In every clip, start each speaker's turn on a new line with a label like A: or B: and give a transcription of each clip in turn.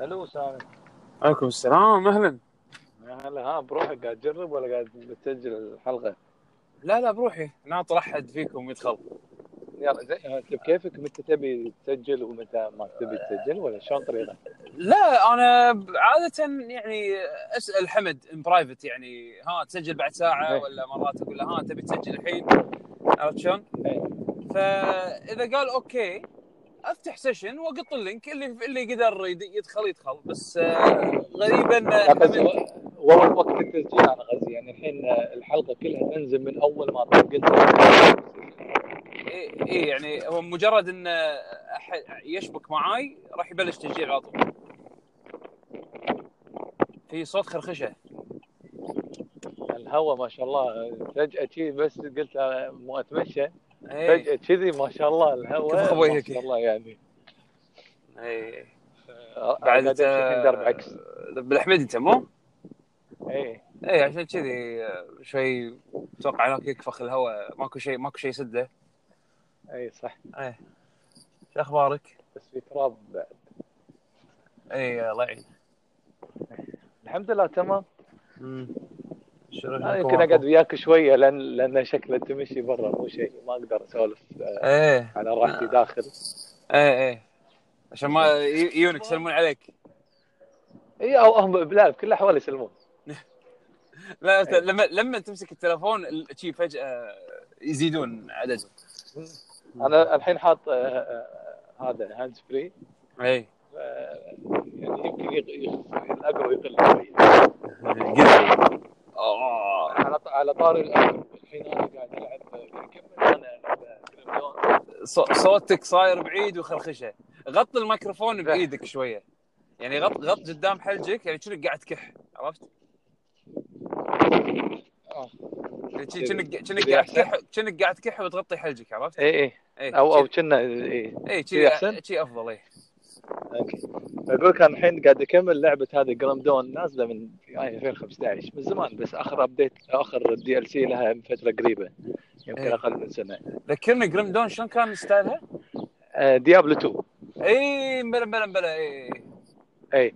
A: الو سامي
B: عليكم السلام اهلا
A: يا هلا ها بروحك قاعد تجرب ولا قاعد بتسجل الحلقه؟
B: لا لا بروحي ناطر احد فيكم يدخل
A: يلا زي انت بكيفك آه، طيب، متى تبي تسجل ومتى ما تبي تسجل ولا شلون طريقه؟
B: لا انا عاده يعني اسال حمد ان برايفت يعني ها تسجل بعد ساعه ولا مرات اقول له ها تبي تسجل الحين عرفت شلون؟ فاذا قال اوكي افتح سيشن واقط اللينك اللي اللي قدر يد- يدخل يدخل بس آه، غريبا
A: لا، بس
B: حمد-
A: و- والله وقت التسجيل انا غزي يعني الحين آه، الحلقه كلها تنزل من اول ما طيب قلت
B: اي إي يعني هو مجرد ان أح- يشبك معاي راح يبلش تسجيل على طول في صوت خرخشه
A: الهواء ما شاء الله آه، فجاه شي بس قلت آه، مو اتمشى
B: اي
A: فجاه كذي ما شاء الله
B: إيه. كيف
A: الهواء
B: أخوي
A: ما
B: هيك؟
A: شاء الله يعني
B: اي
A: آه،
B: بعد آه،
A: قاعد أمشي الحين درب عكس إيه،
B: بالحميد انت مو؟
A: اي
B: اي عشان كذي آه، شوي اتوقع هناك يكفخ الهواء ماكو شيء ماكو شيء يسده إيه.
A: اي إيه، صح
B: شو اخبارك؟
A: بس في تراب بعد
B: اي إيه، الله يعين
A: الحمد لله تمام
B: شنو
A: انا
B: شكو
A: يمكن
B: ماكو؟
A: اقعد وياك شويه لان لان شكله تمشي برا مو شيء ما اقدر اسولف آه،
B: ايه
A: على راحتي داخل
B: ايه ايه عشان ما ي- يجونك يسلمون عليك
A: اي او هم لا بكل الاحوال يسلمون
B: لا
A: أي.
B: لما لما تمسك التلفون ال- شي فجاه يزيدون عددهم
A: انا الحين حاط آه، آه، آه، هذا هاندز فري
B: اي
A: آه، يعني يمكن يغ- يغ- الاجر يقل شوي
B: آه.
A: على ط- على طاري الاجر الحين انا قاعد آه، يعني العب كمل انا العب كريملون.
B: صو- صوتك صاير بعيد وخرخشه غط الميكروفون بايدك شويه يعني غط غط قدام حلجك يعني كأنك قاعد تكح عرفت؟
A: آه.
B: يعني شي- كأنك كأنك
A: كذي
B: قاعد
A: أحسن؟ إيه.
B: تكح كأنك قاعد تكح وتغطي حلجك عرفت؟
A: اي اي
B: اي
A: او او كنا اي
B: اي
A: كذي
B: شي
A: أحسن؟
B: شي إيه. افضل اي
A: اوكي اقول لك انا الحين قاعد اكمل لعبه هذه جرام دون نازله من يعني 2015 من زمان بس اخر ابديت اخر دي ال سي لها من فتره قريبه يمكن
B: إيه.
A: اقل من سنه
B: ذكرني جريم دون شلون كان ستايلها؟
A: آه، ديابلو 2
B: اي مبلا مبلا مبلا إيه. اي
A: اي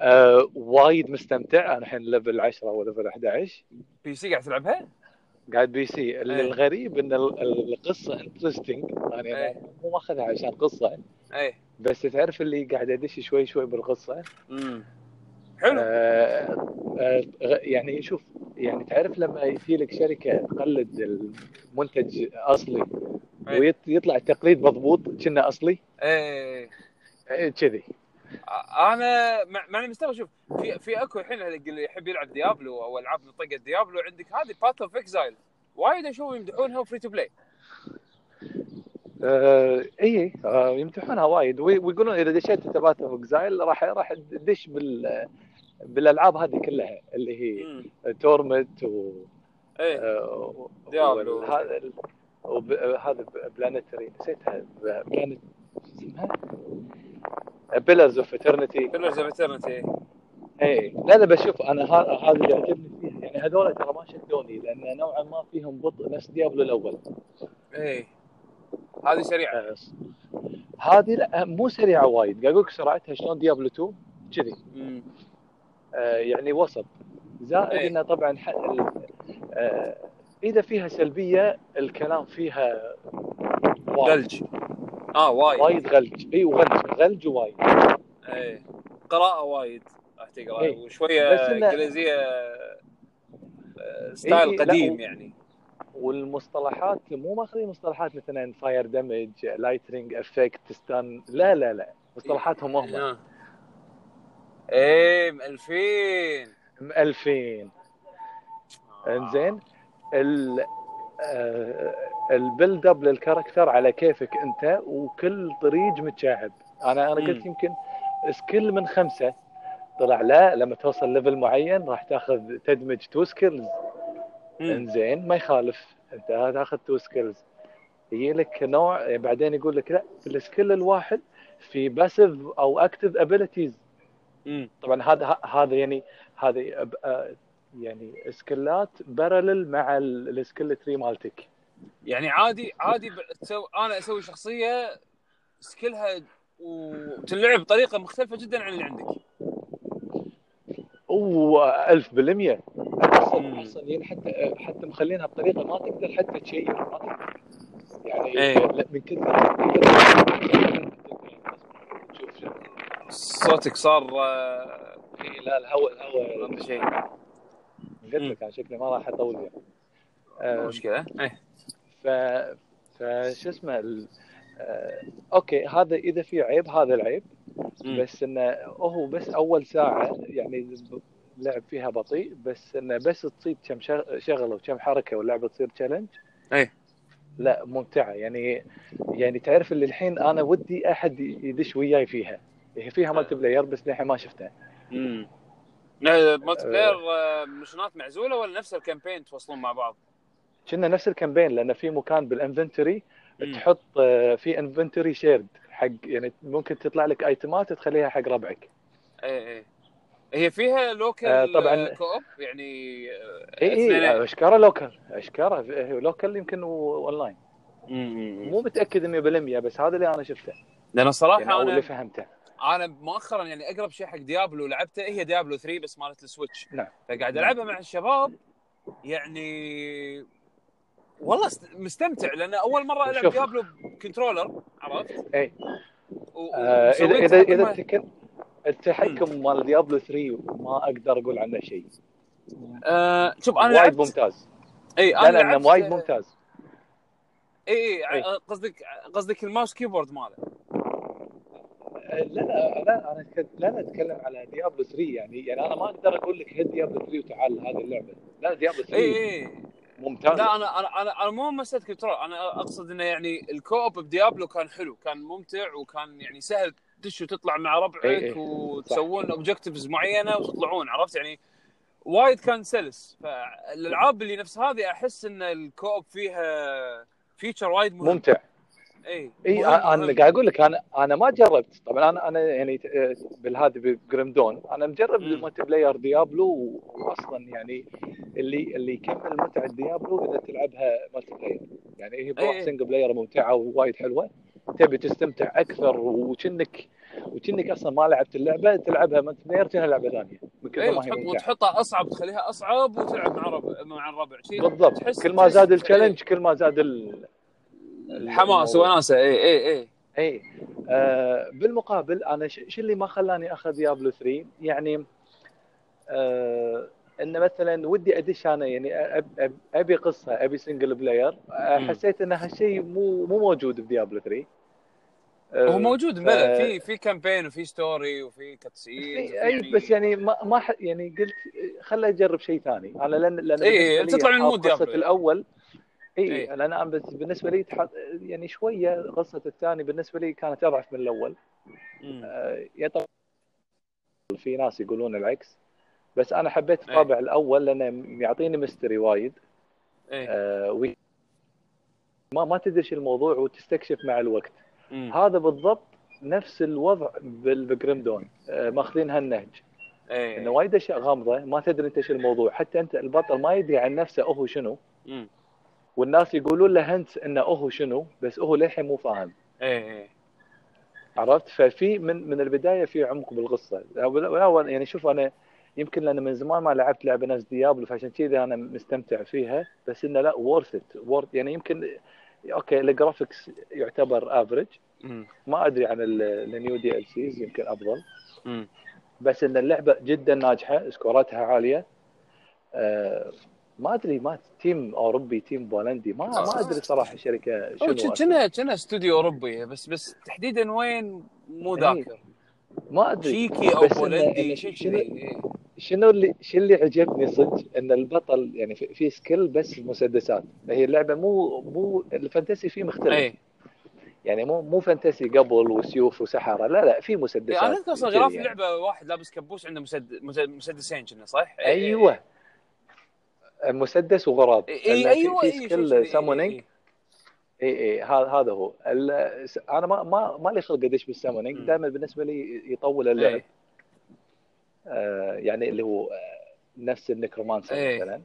A: آه وايد مستمتع انا الحين ليفل 10 وليفل 11
B: بي سي قاعد تلعبها؟
A: قاعد بي سي
B: إيه.
A: اللي الغريب ان ال- ال- القصه انترستنج يعني
B: إيه.
A: أنا مو ماخذها عشان قصه
B: اي
A: بس تعرف اللي قاعد ادش شوي شوي بالقصه
B: امم حلو
A: آه آه غ- يعني شوف يعني تعرف لما يجي لك شركه تقلد المنتج اصلي
B: إيه.
A: ويطلع التقليد مضبوط كنا اصلي
B: ايه
A: آه، كذي
B: انا إيه. مع مع المستوى شوف في في اكو الحين اللي يحب يلعب ديابلو او العاب منطقه ديابلو عندك هذه باث اوف اكزايل وايد اشوف يمدحونها وفري تو بلاي
A: آه اي آه يمدحونها وايد وي- ويقولون اذا دشيت انت باث اوف اكزايل راح راح تدش بال بالالعاب هذه كلها اللي هي تورمنت و
B: ايه
A: آه، و-
B: ديابلو.
A: وهذا ال- وب- هذا بلانتري نسيتها بلانت اسمها بيلرز اوف اترنتي
B: بيلرز اوف اترنتي
A: اي إيه. لا لا بشوف انا ها- هذا اللي عجبني فيها يعني هذول ترى ما شدوني لان نوعا ما فيهم بطء نفس ديابلو الاول
B: ايه هذه سريعه
A: آه، هذه لا مو سريعه وايد قاعد اقول لك سرعتها شلون ديابلو 2 كذي
B: مم.
A: آه، يعني وسط زائد
B: إيه.
A: انه طبعا ح- ال- آه، اذا فيها سلبيه الكلام فيها وايد
B: ثلج اه وايد
A: وايد غلج اي وغلج غلج وايد
B: ايه قراءه وايد راح تقرا
A: إيه.
B: وشويه
A: بس إنه-
B: انجليزيه آه، ستايل
A: إيه، لا،
B: قديم
A: و-
B: يعني
A: والمصطلحات مو ماخذين مصطلحات مثلا فاير دامج لايتنج افكت ستان لا لا لا مصطلحاتهم هم
B: آه. ايه مألفين
A: مألفين
B: آه.
A: انزين ال آه، البيلد اب للكاركتر على كيفك انت وكل طريق متشعب انا انا قلت
B: مم.
A: يمكن سكيل من خمسه طلع لا لما توصل ليفل معين راح تاخذ تدمج تو سكيلز
B: مم.
A: انزين ما يخالف انت تاخذ تو سكيلز يجي لك نوع بعدين يقول لك لا في السكيل الواحد في باسيف او اكتف ابيلتيز
B: مم.
A: طبعا هذا ه- هذا يعني هذه أب- آه، يعني سكلات بارلل مع ال- السكيل تري مالتك
B: يعني عادي عادي ب- تسو... انا اسوي شخصيه سكيلها وتلعب بطريقه مختلفه جدا عن اللي عندك
A: و1000 بالمية
B: مم.
A: محصن محصن حتى حتى مخلينها بطريقه ما تقدر حتى تشير ما تقدر يعني
B: إيه.
A: لا، من كثر ما تقدر- تشوف شو-
B: صوتك صار آه،
A: إيه، لا الهواء الهواء
B: ما شيء
A: قلت لك انا شكلي ما راح اطول يعني.
B: مو
A: آه،
B: مشكله ايه
A: ف فشو اسمه ال... آه، اوكي هذا اذا في عيب هذا العيب
B: مم.
A: بس انه هو بس اول ساعه يعني ب- لعب فيها بطيء بس انه بس تصيد كم شغ- شغله وكم حركه واللعبه تصير تشالنج
B: إيه.
A: لا ممتعه يعني يعني تعرف اللي الحين انا ودي احد يدش وياي فيها هي فيها مالتي بلاير بس للحين ما شفتها
B: امم لا، المالتي بلاير آه، مشنات معزوله ولا نفس الكامبين توصلون مع بعض؟
A: كنا نفس الكامبين لان في مكان بالانفنتوري
B: مم.
A: تحط آه، في انفنتوري شيرد حق يعني ممكن تطلع لك ايتمات تخليها حق ربعك
B: ايه ايه هي فيها لوكال
A: آه، طبعاً.
B: طبعا كوب يعني آه،
A: اي
B: اثنين-
A: اي اشكاره لوكال اشكاره هي لوكال إيه، يمكن اونلاين
B: مم.
A: مو متاكد 100% بس هذا اللي انا شفته
B: لان صراحه
A: يعني او
B: انا
A: اللي فهمته
B: انا مؤخرا يعني اقرب شيء حق ديابلو لعبته هي ديابلو 3 بس مالت السويتش
A: نعم.
B: فقاعد العبها مع الشباب يعني والله است- مستمتع لان اول مره العب
A: شوف.
B: ديابلو بكنترولر عرفت؟
A: إي.
B: و-
A: آه اذا
B: وسويت
A: اذا اذا
B: تحكمها-
A: تكن التحكم مال ديابلو 3 ما اقدر اقول عنه شيء
B: آه، شوف انا
A: وايد
B: لعبت
A: ممتاز
B: اي
A: لا
B: انا
A: لا
B: لعبت
A: إنه وايد إيه. ممتاز
B: اي اي
A: إي.
B: قصدك قصدك الماوس كيبورد ماله
A: آه، لا لا لا انا أتك- لا انا اتكلم على ديابلو 3 يعني يعني انا ما اقدر اقول لك هد ديابلو 3 وتعال هذه اللعبه لا ديابلو 3
B: اي اي
A: ممتاز
B: إيه، لا انا انا انا, أنا مو مسألة كنترول انا اقصد انه يعني الكوب بديابلو كان حلو كان ممتع وكان يعني سهل تدش وتطلع مع ربعك
A: إي إي.
B: وتسوون اوبجكتيفز معينه وتطلعون عرفت يعني وايد كان سلس فالالعاب اللي نفس هذه احس ان الكوب فيها فيتشر وايد مهم
A: ممتع
B: اي
A: اي
B: مهم،
A: انا
B: مهم.
A: قاعد اقول لك انا انا ما جربت طبعا انا انا يعني آه، بالهذا بجريمدون انا مجرب
B: مم.
A: الملتي بلاير ديابلو واصلا يعني اللي اللي يكمل متعه ديابلو اذا تلعبها ملتي بلاير يعني هي بروح
B: إي.
A: سنجل بلاير ممتعه ووايد حلوه تبي تستمتع اكثر وكنك وكنك اصلا ما لعبت اللعبه تلعبها ملتي بلاير كانها لعبه ثانيه من كثر
B: اي
A: ما هي
B: وتحط
A: ممتعه
B: إيه، وتحطها اصعب تخليها اصعب وتلعب مع ربع مع الربع شي
A: بالضبط
B: تحس-
A: كل ما
B: تحس- إيه،
A: زاد
B: إي.
A: التشالنج كل ما زاد ال-
B: الحماس وناسه اي اي اي
A: اي آه بالمقابل انا ش- شو اللي ما خلاني اخذ ديابلو 3 يعني آه انه مثلا ودي ادش انا يعني أ- أب أب ابي قصه ابي سنجل بلاير آه
B: مم.
A: حسيت ان هالشيء مو مو موجود بديابلو 3 آه،
B: هو موجود بلا
A: آه،
B: في في كامبين وفي ستوري وفي
A: في-
B: كتسيين
A: اي بس يعني ما ما ح- يعني قلت خله اجرب شيء ثاني انا لان لان
B: إي،
A: بالنسبة لي
B: تطلع من مود
A: قصه
B: ديابلو.
A: الاول اي
B: إي.
A: لان انا بس بالنسبه لي تح- يعني شويه قصه الثاني بالنسبه لي كانت اضعف من الاول
B: مم.
A: آه، يا طبعا في ناس يقولون العكس بس انا حبيت
B: إيه.
A: الطابع الاول لانه يعطيني مستري وايد
B: إيه.
A: آه، وي- ما ما تدري شو الموضوع وتستكشف مع الوقت
B: مم.
A: هذا بالضبط نفس الوضع بال- بجريمدون آه، ماخذين هالنهج
B: إيه.
A: انه وايد اشياء غامضه ما تدري انت شو الموضوع حتى انت البطل ما يدري عن نفسه هو شنو
B: مم.
A: والناس يقولون له هنت انه هو شنو بس هو للحين مو فاهم
B: إيه. إيه.
A: عرفت ففي من من البدايه في عمق بالقصه الاول يعني شوف انا يمكن لان من زمان ما لعبت لعبه نفس ديابلو فعشان كذا انا مستمتع فيها بس انه لا وورث ات يعني يمكن اوكي الجرافكس يعتبر افريج
B: مم.
A: ما ادري عن ال- النيو دي ال سيز يمكن افضل
B: مم.
A: بس ان اللعبه جدا ناجحه سكوراتها عاليه آه ما ادري ما تيم اوروبي تيم بولندي ما ما ادري صراحه الشركه
B: هو
A: شنو
B: ج- كنا كنا استوديو اوروبي بس بس تحديدا وين مو ذاكر
A: ما ادري
B: تشيكي او
A: إيه. بس إنه- إنه
B: بولندي شيء كذي
A: شنو-
B: إيه.
A: شنو اللي شو اللي عجبني صدق ان البطل يعني في, في سكيل بس مسدسات هي اللعبه مو مو الفانتسي فيه مختلف
B: إيه.
A: يعني مو مو فانتسي قبل وسيوف وسحره لا لا في مسدسات
B: إيه. انا اذكر صار
A: كذي
B: غلاف
A: يعني.
B: لعبه واحد لابس كبوس عنده مسد... مسد... مسدسين كنا صح؟ إيه.
A: ايوه مسدس وغراب
B: إيه. إيه.
A: إنه في-
B: ايوه
A: في
B: إيه. شيء كذي.
A: سكيل
B: إيه.
A: سامونينج
B: إيه.
A: اي اي هذا إيه، هذا هو ال- س- انا ما ما ما لي خلق ادش بالسامونينج
B: مم.
A: دائما بالنسبه لي يطول
B: إيه.
A: اللعب آه يعني اللي هو آه، نفس النكرومانسر
B: إيه.
A: مثلا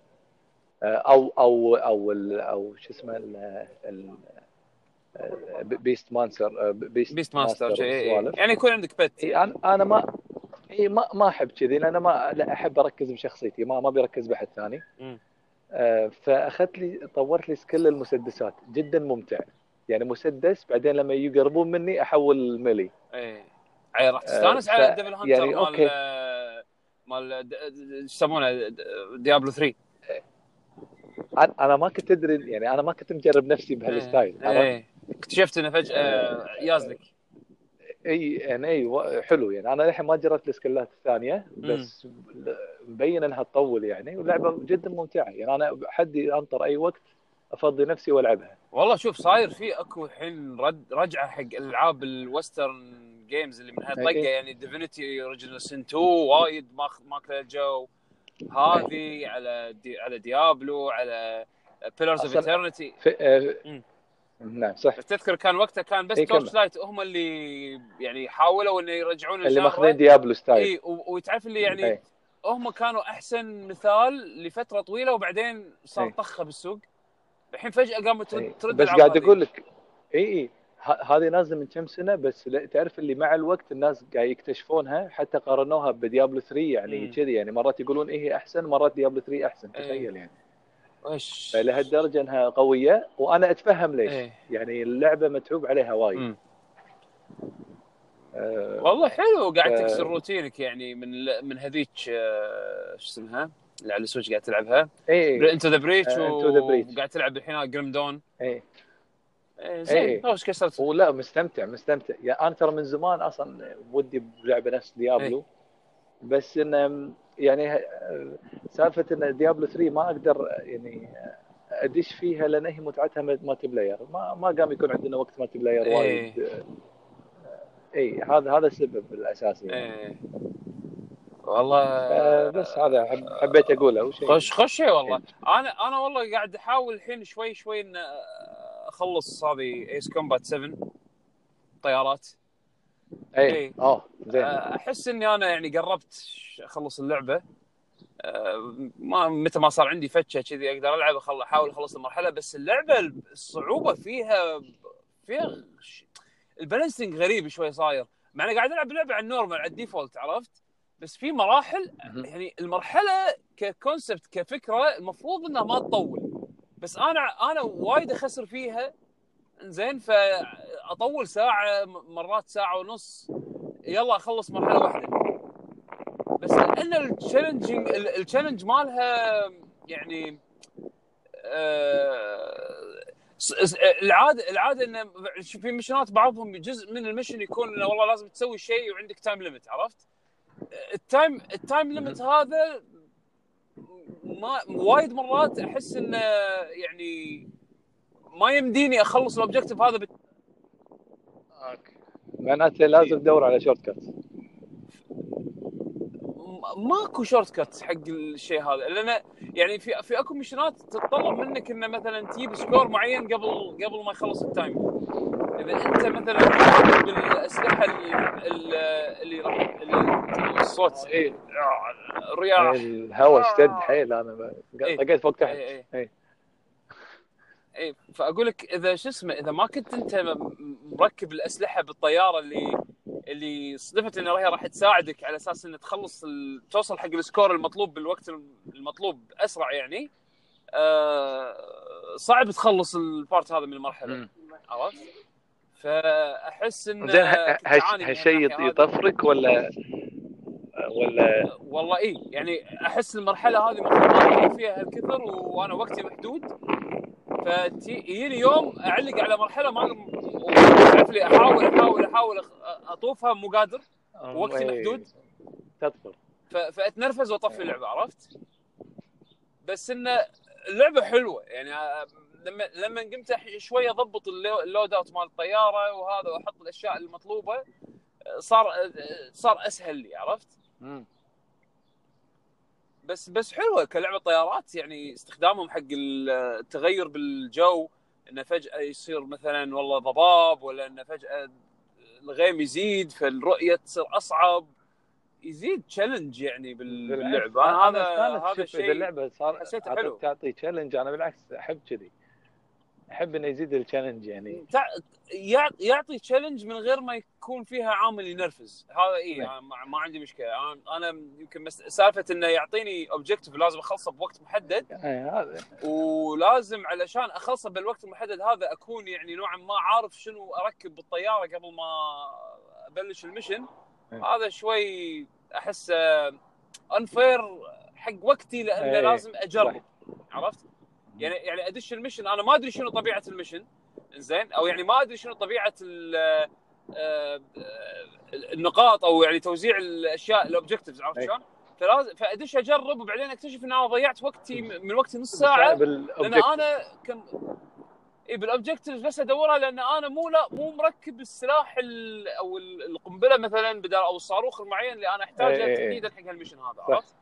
A: آه، او او او ال- او شو اسمه ال- ال- آه، بيست مانسر آه، بيست,
B: بيست ماستر شيء إيه.
A: والسوالف.
B: يعني يكون عندك بت
A: إي، انا انا ما اي ما ما احب كذي لان ما لا احب اركز بشخصيتي ما ما ابي اركز باحد ثاني
B: مم.
A: آه، فاخذت لي طورت لي سكيل المسدسات جدا ممتع يعني مسدس بعدين لما يقربون مني احول ملي
B: اي يعني راح
A: آه،
B: تستانس
A: ف-
B: على ديفل هانتر
A: يعني
B: مال آه،
A: أوكي.
B: مال د- د- شو يسمونه د- ديابلو 3
A: انا أنا ما كنت ادري يعني انا ما كنت مجرب نفسي بهالستايل عرفت؟
B: اي إيه. اكتشفت انه فجاه يازلك
A: اي يعني اي و- حلو يعني انا للحين ما جربت السكلات الثانيه بس ل- مبين انها تطول يعني واللعبه جدا ممتعه يعني انا حدي انطر اي وقت افضي نفسي والعبها
B: والله شوف صاير في اكو الحين رد رجعه حق العاب الوسترن جيمز اللي من هالطقه
A: أكيد.
B: يعني ديفينيتي اوريجينال سين 2 وايد ماخ- ماكله الجو هذه على دي على ديابلو على بيلرز اوف
A: أصلاً-
B: ايترنتي
A: ف... آه...
B: مم.
A: نعم صح
B: تذكر كان وقتها كان بس
A: إي، إيه، كمل.
B: تورش لايت هم اللي يعني حاولوا انه يرجعون
A: اللي
B: الجانرا.
A: ماخذين ديابلو ستايل إيه،
B: اي و- وتعرف اللي إيه، يعني
A: إي.
B: هم كانوا احسن مثال لفتره طويله وبعدين صار
A: إي.
B: طخه بالسوق الحين فجاه قامت
A: إي.
B: ترد
A: إيه.
B: ترد إيه.
A: بس
B: العاب
A: قاعد
B: هذه.
A: اقول لك اي اي ه- هذه نازله من كم سنه بس لا- تعرف اللي مع الوقت الناس قاعد يكتشفونها حتى قارنوها بديابلو 3 يعني
B: مم. إيه.
A: كذي يعني مرات يقولون ايه هي احسن مرات ديابلو 3 احسن
B: إي.
A: تخيل يعني
B: وش
A: فلهالدرجه انها قويه وانا اتفهم ليش
B: إيه.
A: يعني اللعبه متعوب عليها وايد
B: مم.
A: آه،
B: والله حلو قاعد
A: ف-
B: تكسر روتينك يعني من من هذيك آه، شو اسمها اللي على السويتش قاعد تلعبها
A: اي
B: انتو ذا بريتش
A: آه، Into the Breach.
B: وقاعد تلعب الحين جريم دون
A: اي
B: إيه،
A: إي.
B: زين خوش كسرت
A: ولا مستمتع مستمتع يعني انا ترى من زمان اصلا ودي بلعبه نفس
B: إيه.
A: ديابلو بس انه يعني آه، سالفه ان ديابلو 3 ما اقدر آه، يعني آه، ادش فيها لان هي متعتها مالتي بلاير ما ما قام يكون عندنا وقت مالتي بلاير
B: إيه.
A: وايد آه، اي هذا هذا السبب الاساسي يعني.
B: إيه. والله
A: آه، بس هذا حب- حبيت اقوله وشيء
B: خوش خوش شيء والله انا انا والله قاعد احاول الحين شوي شوي ان اخلص هذه ايس كومبات 7 طيارات
A: اي
B: إيه.
A: اه زين
B: احس اني انا يعني قربت اخلص اللعبه أه، ما متى ما صار عندي فتشه كذي اقدر العب أخل- احاول اخلص المرحله بس اللعبه الصعوبه فيها فيها ش- البالانسنج غريب شوي صاير مع اني قاعد العب لعبه على النورمال على الديفولت عرفت بس في مراحل
A: مهم.
B: يعني المرحله ككونسبت كفكره المفروض انها ما تطول بس انا انا وايد اخسر فيها زين فاطول ساعه م- مرات ساعه ونص يلا اخلص مرحله واحده بس لان التشالنجينج التشالنج مالها يعني آه، س- س- العاده العاده ان شوف في مشنات بعضهم جزء من المشن يكون انه والله لازم تسوي شيء وعندك تايم ليمت عرفت؟ التايم التايم ليمت هذا ما وايد مرات احس انه يعني ما يمديني اخلص الاوبجيكتيف هذا بت...
A: معناته لازم تدور على شورت كات
B: م- ماكو شورت كات حق الشيء هذا لان يعني في في اكو مشنات تتطلب منك انه مثلا تجيب سكور معين قبل قبل ما يخلص التايم اذا انت مثلا بالاسلحه ال- ال- اللي راح اللي- الصوت
A: إيه.
B: الرياح
A: الهواء اشتد حيل انا ب-
B: آه. إيه.
A: طقيت فوق تحت
B: إيه،
A: إيه.
B: اي فاقول إيه، لك اذا شو اسمه اذا ما كنت انت م- مركب الاسلحه بالطياره اللي اللي صدفت ان هي راح تساعدك على اساس ان تخلص ال... توصل حق السكور المطلوب بالوقت المطلوب اسرع يعني آه صعب تخلص البارت هذا من المرحله
A: مم.
B: عرفت؟ فاحس ان
A: زين ه-
B: كنت
A: هش-
B: أعاني من
A: هالشيء
B: الناحية هذه.
A: يطفرك ولا ولا
B: والله اي يعني احس المرحله هذه المفروض ما أكون فيها هالكثر وانا وقتي محدود فيجيني يوم اعلق على مرحله ما تعرف لي احاول احاول احاول أخ- اطوفها مو قادر وقتي
A: إيه.
B: محدود.
A: تطفر
B: ف- فاتنرفز واطفي اللعبه عرفت؟ بس انه اللعبه حلوه يعني آه، لما لما قمت أح- شوي اضبط اللو- اللود اوت مال الطياره وهذا واحط الاشياء المطلوبه آه، صار آه، صار اسهل لي عرفت؟ بس بس حلوه كلعبه طيارات يعني استخدامهم حق التغير بالجو انه فجاه يصير مثلا والله ضباب ولا انه فجاه الغيم يزيد فالرؤيه تصير اصعب يزيد تشالنج يعني بال-
A: بالعكس.
B: باللعبه أنا هذا
A: استانس
B: هذا
A: شوف إذا
B: الشيء
A: اللعبه صار
B: حسيته
A: عطت-
B: حلو.
A: تعطي تشالنج انا بالعكس احب كذي احب انه يزيد التشالنج يعني
B: تع- يع- يعطي تشالنج من غير ما يكون فيها عامل ينرفز هذا اي
A: نعم.
B: أنا ما ما عندي مشكله انا انا يمكن مس- سالفه انه يعطيني اوبجيكتيف لازم اخلصه بوقت محدد
A: يعني هذا
B: ولازم علشان اخلصه بالوقت المحدد هذا اكون يعني نوعا ما عارف شنو اركب بالطياره قبل ما ابلش المشن
A: إيه.
B: هذا شوي احس انفير حق وقتي لانه
A: إيه.
B: لازم اجرب
A: صح.
B: عرفت؟ يعني يعني ادش المشن انا ما ادري شنو طبيعه المشن زين او يعني ما ادري شنو طبيعه ال- آه، آه، النقاط او يعني توزيع الاشياء الاوبجكتيفز عرفت
A: إيه.
B: شلون؟ فلازم فادش اجرب وبعدين اكتشف ان انا ضيعت وقتي من وقتي نص ساعه لان
A: بالأوبجكت.
B: انا كم اي بالاوبجكتيفز بس ادورها لان انا مو لا مو مركب السلاح ال... او ال- القنبله مثلا بدل او الصاروخ المعين اللي انا
A: إي إي
B: احتاجه
A: إي.
B: تحديدا حق هالمشن هذا عرفت؟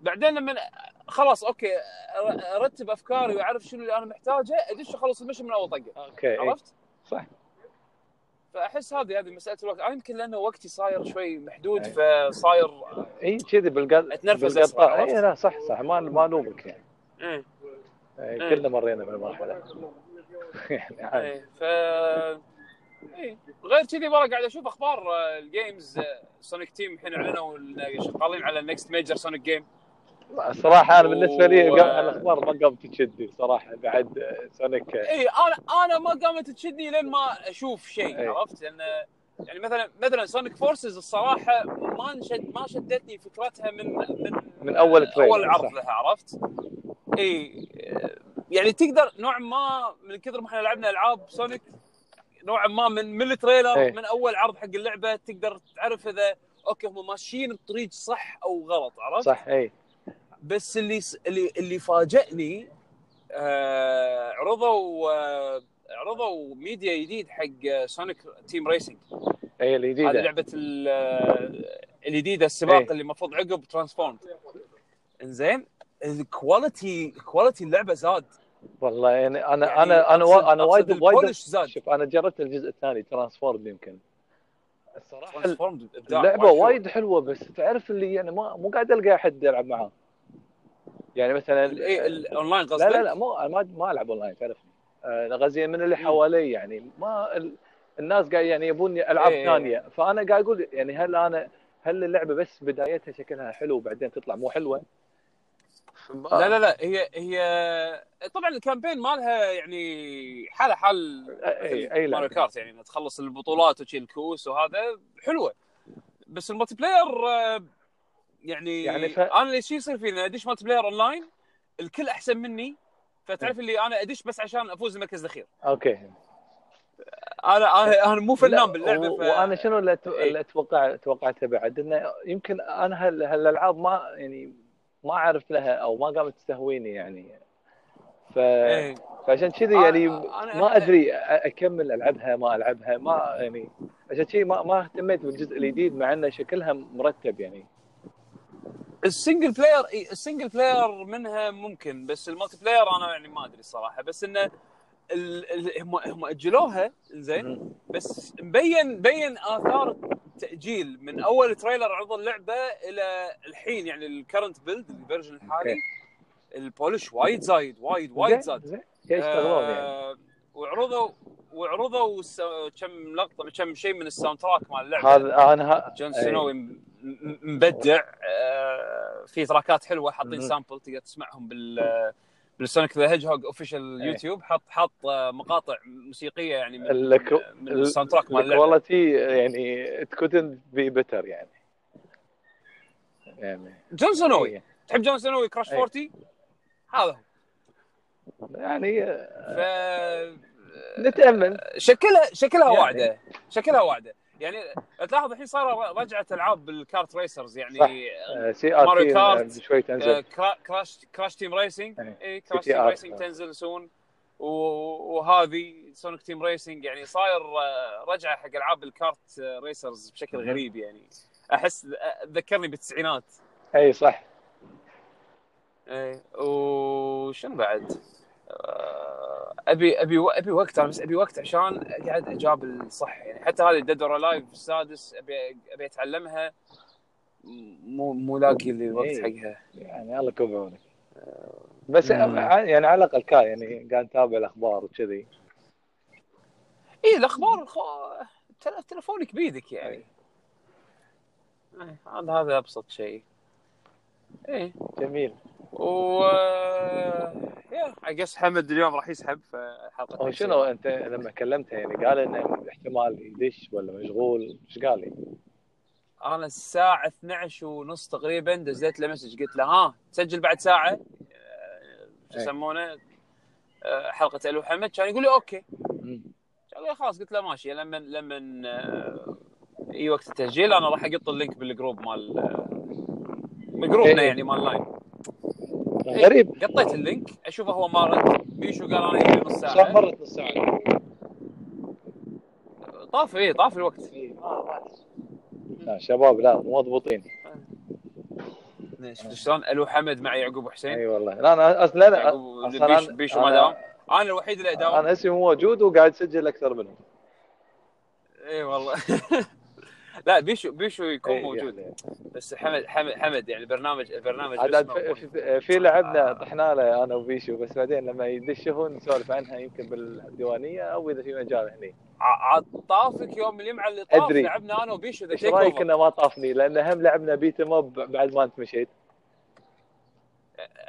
B: بعدين لما أ- خلاص اوكي أر- ارتب افكاري واعرف شنو اللي انا محتاجه ادش اخلص المشن من اول طقه
A: اوكي إيه.
B: عرفت؟
A: صح.
B: فاحس هذه هذه مساله الوقت انا يمكن لانه وقتي صاير شوي محدود
A: إي.
B: فصاير
A: اي إيه، كذي بالقل
B: أتنرفز أسرع،
A: بالقطاع
B: عرفت؟
A: اي إيه، لا صح صح ما ما الومك يعني
B: إيه.
A: إيه،
B: إيه.
A: كلنا مرينا بالمرحله يعني عادي.
B: ايه ف إيه. غير كذي ورا قاعد اشوف اخبار آه، الجيمز آه، سونيك تيم الحين اعلنوا إن شغالين على النكست ميجر سونيك جيم
A: صراحه انا بالنسبه لي
B: إيه. و-
A: قبل- الاخبار ما قامت تشدني صراحه بعد آه، سونيك آه،
B: اي انا انا إيه، ما قامت تشدني لين ما اشوف شيء
A: إيه.
B: عرفت لان يعني مثلا مثلا سونيك فورسز الصراحه ما نشد ما شدتني فكرتها من من
A: من أول تريلر،
B: اول عرض
A: صح.
B: لها عرفت؟ اي آه، يعني تقدر نوعا ما من كثر ما احنا لعبنا العاب سونيك نوعا ما من من التريلر
A: إيه.
B: من اول عرض حق اللعبه تقدر تعرف اذا اوكي هم ماشيين بطريق صح او غلط عرفت؟
A: صح إيه، اي
B: بس اللي اللي اللي فاجئني آه عرضوا آه عرضوا ميديا جديد حق آه، سونيك تيم ريسنج
A: إيه اي
B: هذه
A: الجديده
B: لعبه ال- آه، الجديده السباق
A: إيه.
B: اللي المفروض عقب ترانسفورم انزين الكواليتي كواليتي اللعبه زاد
A: والله يعني انا
B: يعني
A: انا انا
B: أقصد-
A: وا- انا
B: أقصد
A: وايد وايد
B: البولش زاد.
A: شوف انا جربت الجزء الثاني ترانسفورم يمكن الصراحه
B: ترانسفورم إبداع
A: اللعبه
B: حلو.
A: وايد حلوه بس تعرف اللي يعني ما مو قاعد القى احد العب معاه يعني مثلا
B: ال- إيه، الاونلاين قصدك
A: لا لا لا مو أنا ما ما العب اونلاين تعرفني آه، غزية من اللي حوالي يعني ما ال- الناس قاعد يعني يبون العاب
B: إيه.
A: ثانيه فانا قاعد اقول يعني هل انا هل اللعبه بس بدايتها شكلها حلو وبعدين تطلع مو حلوه؟ آه.
B: لا لا لا هي هي طبعا الكامبين مالها يعني حاله حال
A: أي- أي
B: ماريو
A: لعبة.
B: كارت يعني إنها تخلص البطولات وشي الكؤوس وهذا حلوه بس الملتي بلاير آه، يعني,
A: يعني ف-
B: انا اللي شي يصير فيني ادش ملتي بلاير اونلاين الكل احسن مني
A: إيه.
B: فتعرف اللي انا ادش بس عشان افوز المركز الاخير
A: اوكي
B: انا انا, أنا مو
A: آه، لا،
B: فنان باللعبه
A: و-
B: ف...
A: وانا شنو اللي أت-
B: إيه.
A: اللي اتوقع توقعته بعد انه يمكن انا هال- هالالعاب ما يعني ما اعرف لها او ما قامت تستهويني يعني ف...
B: إيه.
A: فعشان كذي
B: أنا-
A: يعني
B: آه، أنا-
A: ما ادري أ- اكمل العبها ما العبها ما يعني عشان كذي ما, ما اهتميت بالجزء الجديد مع انه شكلها مرتب يعني
B: السنجل بلاير إي، السنجل بلاير منها ممكن بس المالتي بلاير انا يعني ما ادري صراحه بس انه ال- ال- هم هم اجلوها زين
A: مم.
B: بس مبين مبين اثار التاجيل من اول تريلر عرض اللعبه الى الحين يعني الكرنت بيلد الفيرجن الحالي
A: أوكي.
B: البولش وايد زايد وايد وايد زاد
A: زين زين. يشتغلون يعني
B: آه، وعرضوا وعرضوا س- كم لقطه كم شيء من الساوند تراك مال اللعبه
A: هذا انا ه- إيه،
B: جون
A: أي.
B: سنو م- م- مبدع آه، في تراكات حلوه حاطين
A: مهم.
B: سامبل تقدر تسمعهم بال بالسونيك ذا هيج هوج اوفيشال
A: أي.
B: يوتيوب حط حط آه، مقاطع موسيقيه يعني من
A: الك-
B: من
A: ال-
B: الساوند تراك مال اللعبه
A: الكواليتي يعني تكوتن بي بتر يعني يعني
B: جون سنوي تحب جون سنوي كراش
A: أي.
B: 40 هذا هو
A: يعني
B: ف
A: نتامل
B: شكلها شكلها
A: يعني.
B: واعده شكلها واعده يعني تلاحظ الحين صار رجعت العاب بالكارت ريسرز يعني
A: صح. آه، سي ار
B: ماريو
A: تي
B: كارت.
A: شوي تنزل
B: كرا- كراش كراش تيم ريسنج
A: إيه.
B: اي كراش
A: GTA
B: تيم ريسنج
A: آه.
B: تنزل سون و- وهذه سونيك تيم ريسنج يعني صاير آه، رجعه حق العاب الكارت آه، ريسرز بشكل
A: مهم.
B: غريب يعني احس آه، ذكرني بالتسعينات
A: اي إيه، صح
B: إيه، اي وشنو بعد؟ آه، ابي ابي و- ابي وقت انا بس ابي وقت عشان اقعد اجاب الصح يعني حتى هذه ديد اور لايف السادس ابي ابي اتعلمها مو مو لاقي لي الوقت
A: إيه.
B: حقها
A: يعني الله يكون بعونك بس
B: مم.
A: ع- يعني على الاقل كا يعني قاعد اتابع الاخبار وكذي
B: اي الاخبار الخو... إيه، تل- تلفونك بيدك يعني إيه، هذا هذا ابسط شيء ايه
A: جميل
B: و آه، يا اي جس حمد اليوم راح يسحب فحلقه
A: هو شنو انت لما كلمته يعني قال انه احتمال يدش ولا مشغول ايش قال لي؟
B: انا الساعه 12 ونص تقريبا دزيت له مسج قلت له ها تسجل بعد ساعه آه، شو
A: إيه.
B: يسمونه آه، حلقه الو حمد كان يقول لي اوكي قال لي خلاص قلت له ماشي لما لما آه، اي وقت التسجيل انا راح اقط اللينك بالجروب مال آه، من جروبنا
A: إيه.
B: يعني مال لاين
A: غريب
B: قطيت اللينك اشوفه هو ما رد بيشو قال انا يجي نص
A: صار
B: ساعه
A: مرت نص ساعه
B: طاف اي طاف الوقت
A: لا، إيه. آه، شباب لا مو مضبوطين
B: شفت نعم. شلون الو حمد مع يعقوب حسين
A: اي والله لا انا اصلا لا لا
B: يعقوب
A: أصلاً
B: بيشو-
A: أيوه. أنا-
B: بيشو ما داوم انا الوحيد اللي اداوم
A: انا اسمي موجود وقاعد اسجل اكثر منهم
B: اي إيه، والله لا بيشو بيشو يكون
A: إي،
B: موجود
A: يعني.
B: بس حمد حمد حمد يعني البرنامج البرنامج
A: عاد
B: باسمه
A: في-
B: موجود.
A: في- في لعبنا طحنا له انا وبيشو بس بعدين لما يدش هو نسولف عنها يمكن بالديوانيه او اذا في مجال هني
B: ع- عاد طافك يوم الجمعه اللي طاف
A: أدري.
B: لعبنا انا وبيشو ذا
A: ايش
B: تيك
A: رايك
B: أوفر.
A: انه ما طافني لان هم لعبنا بيت موب بعد ما انت مشيت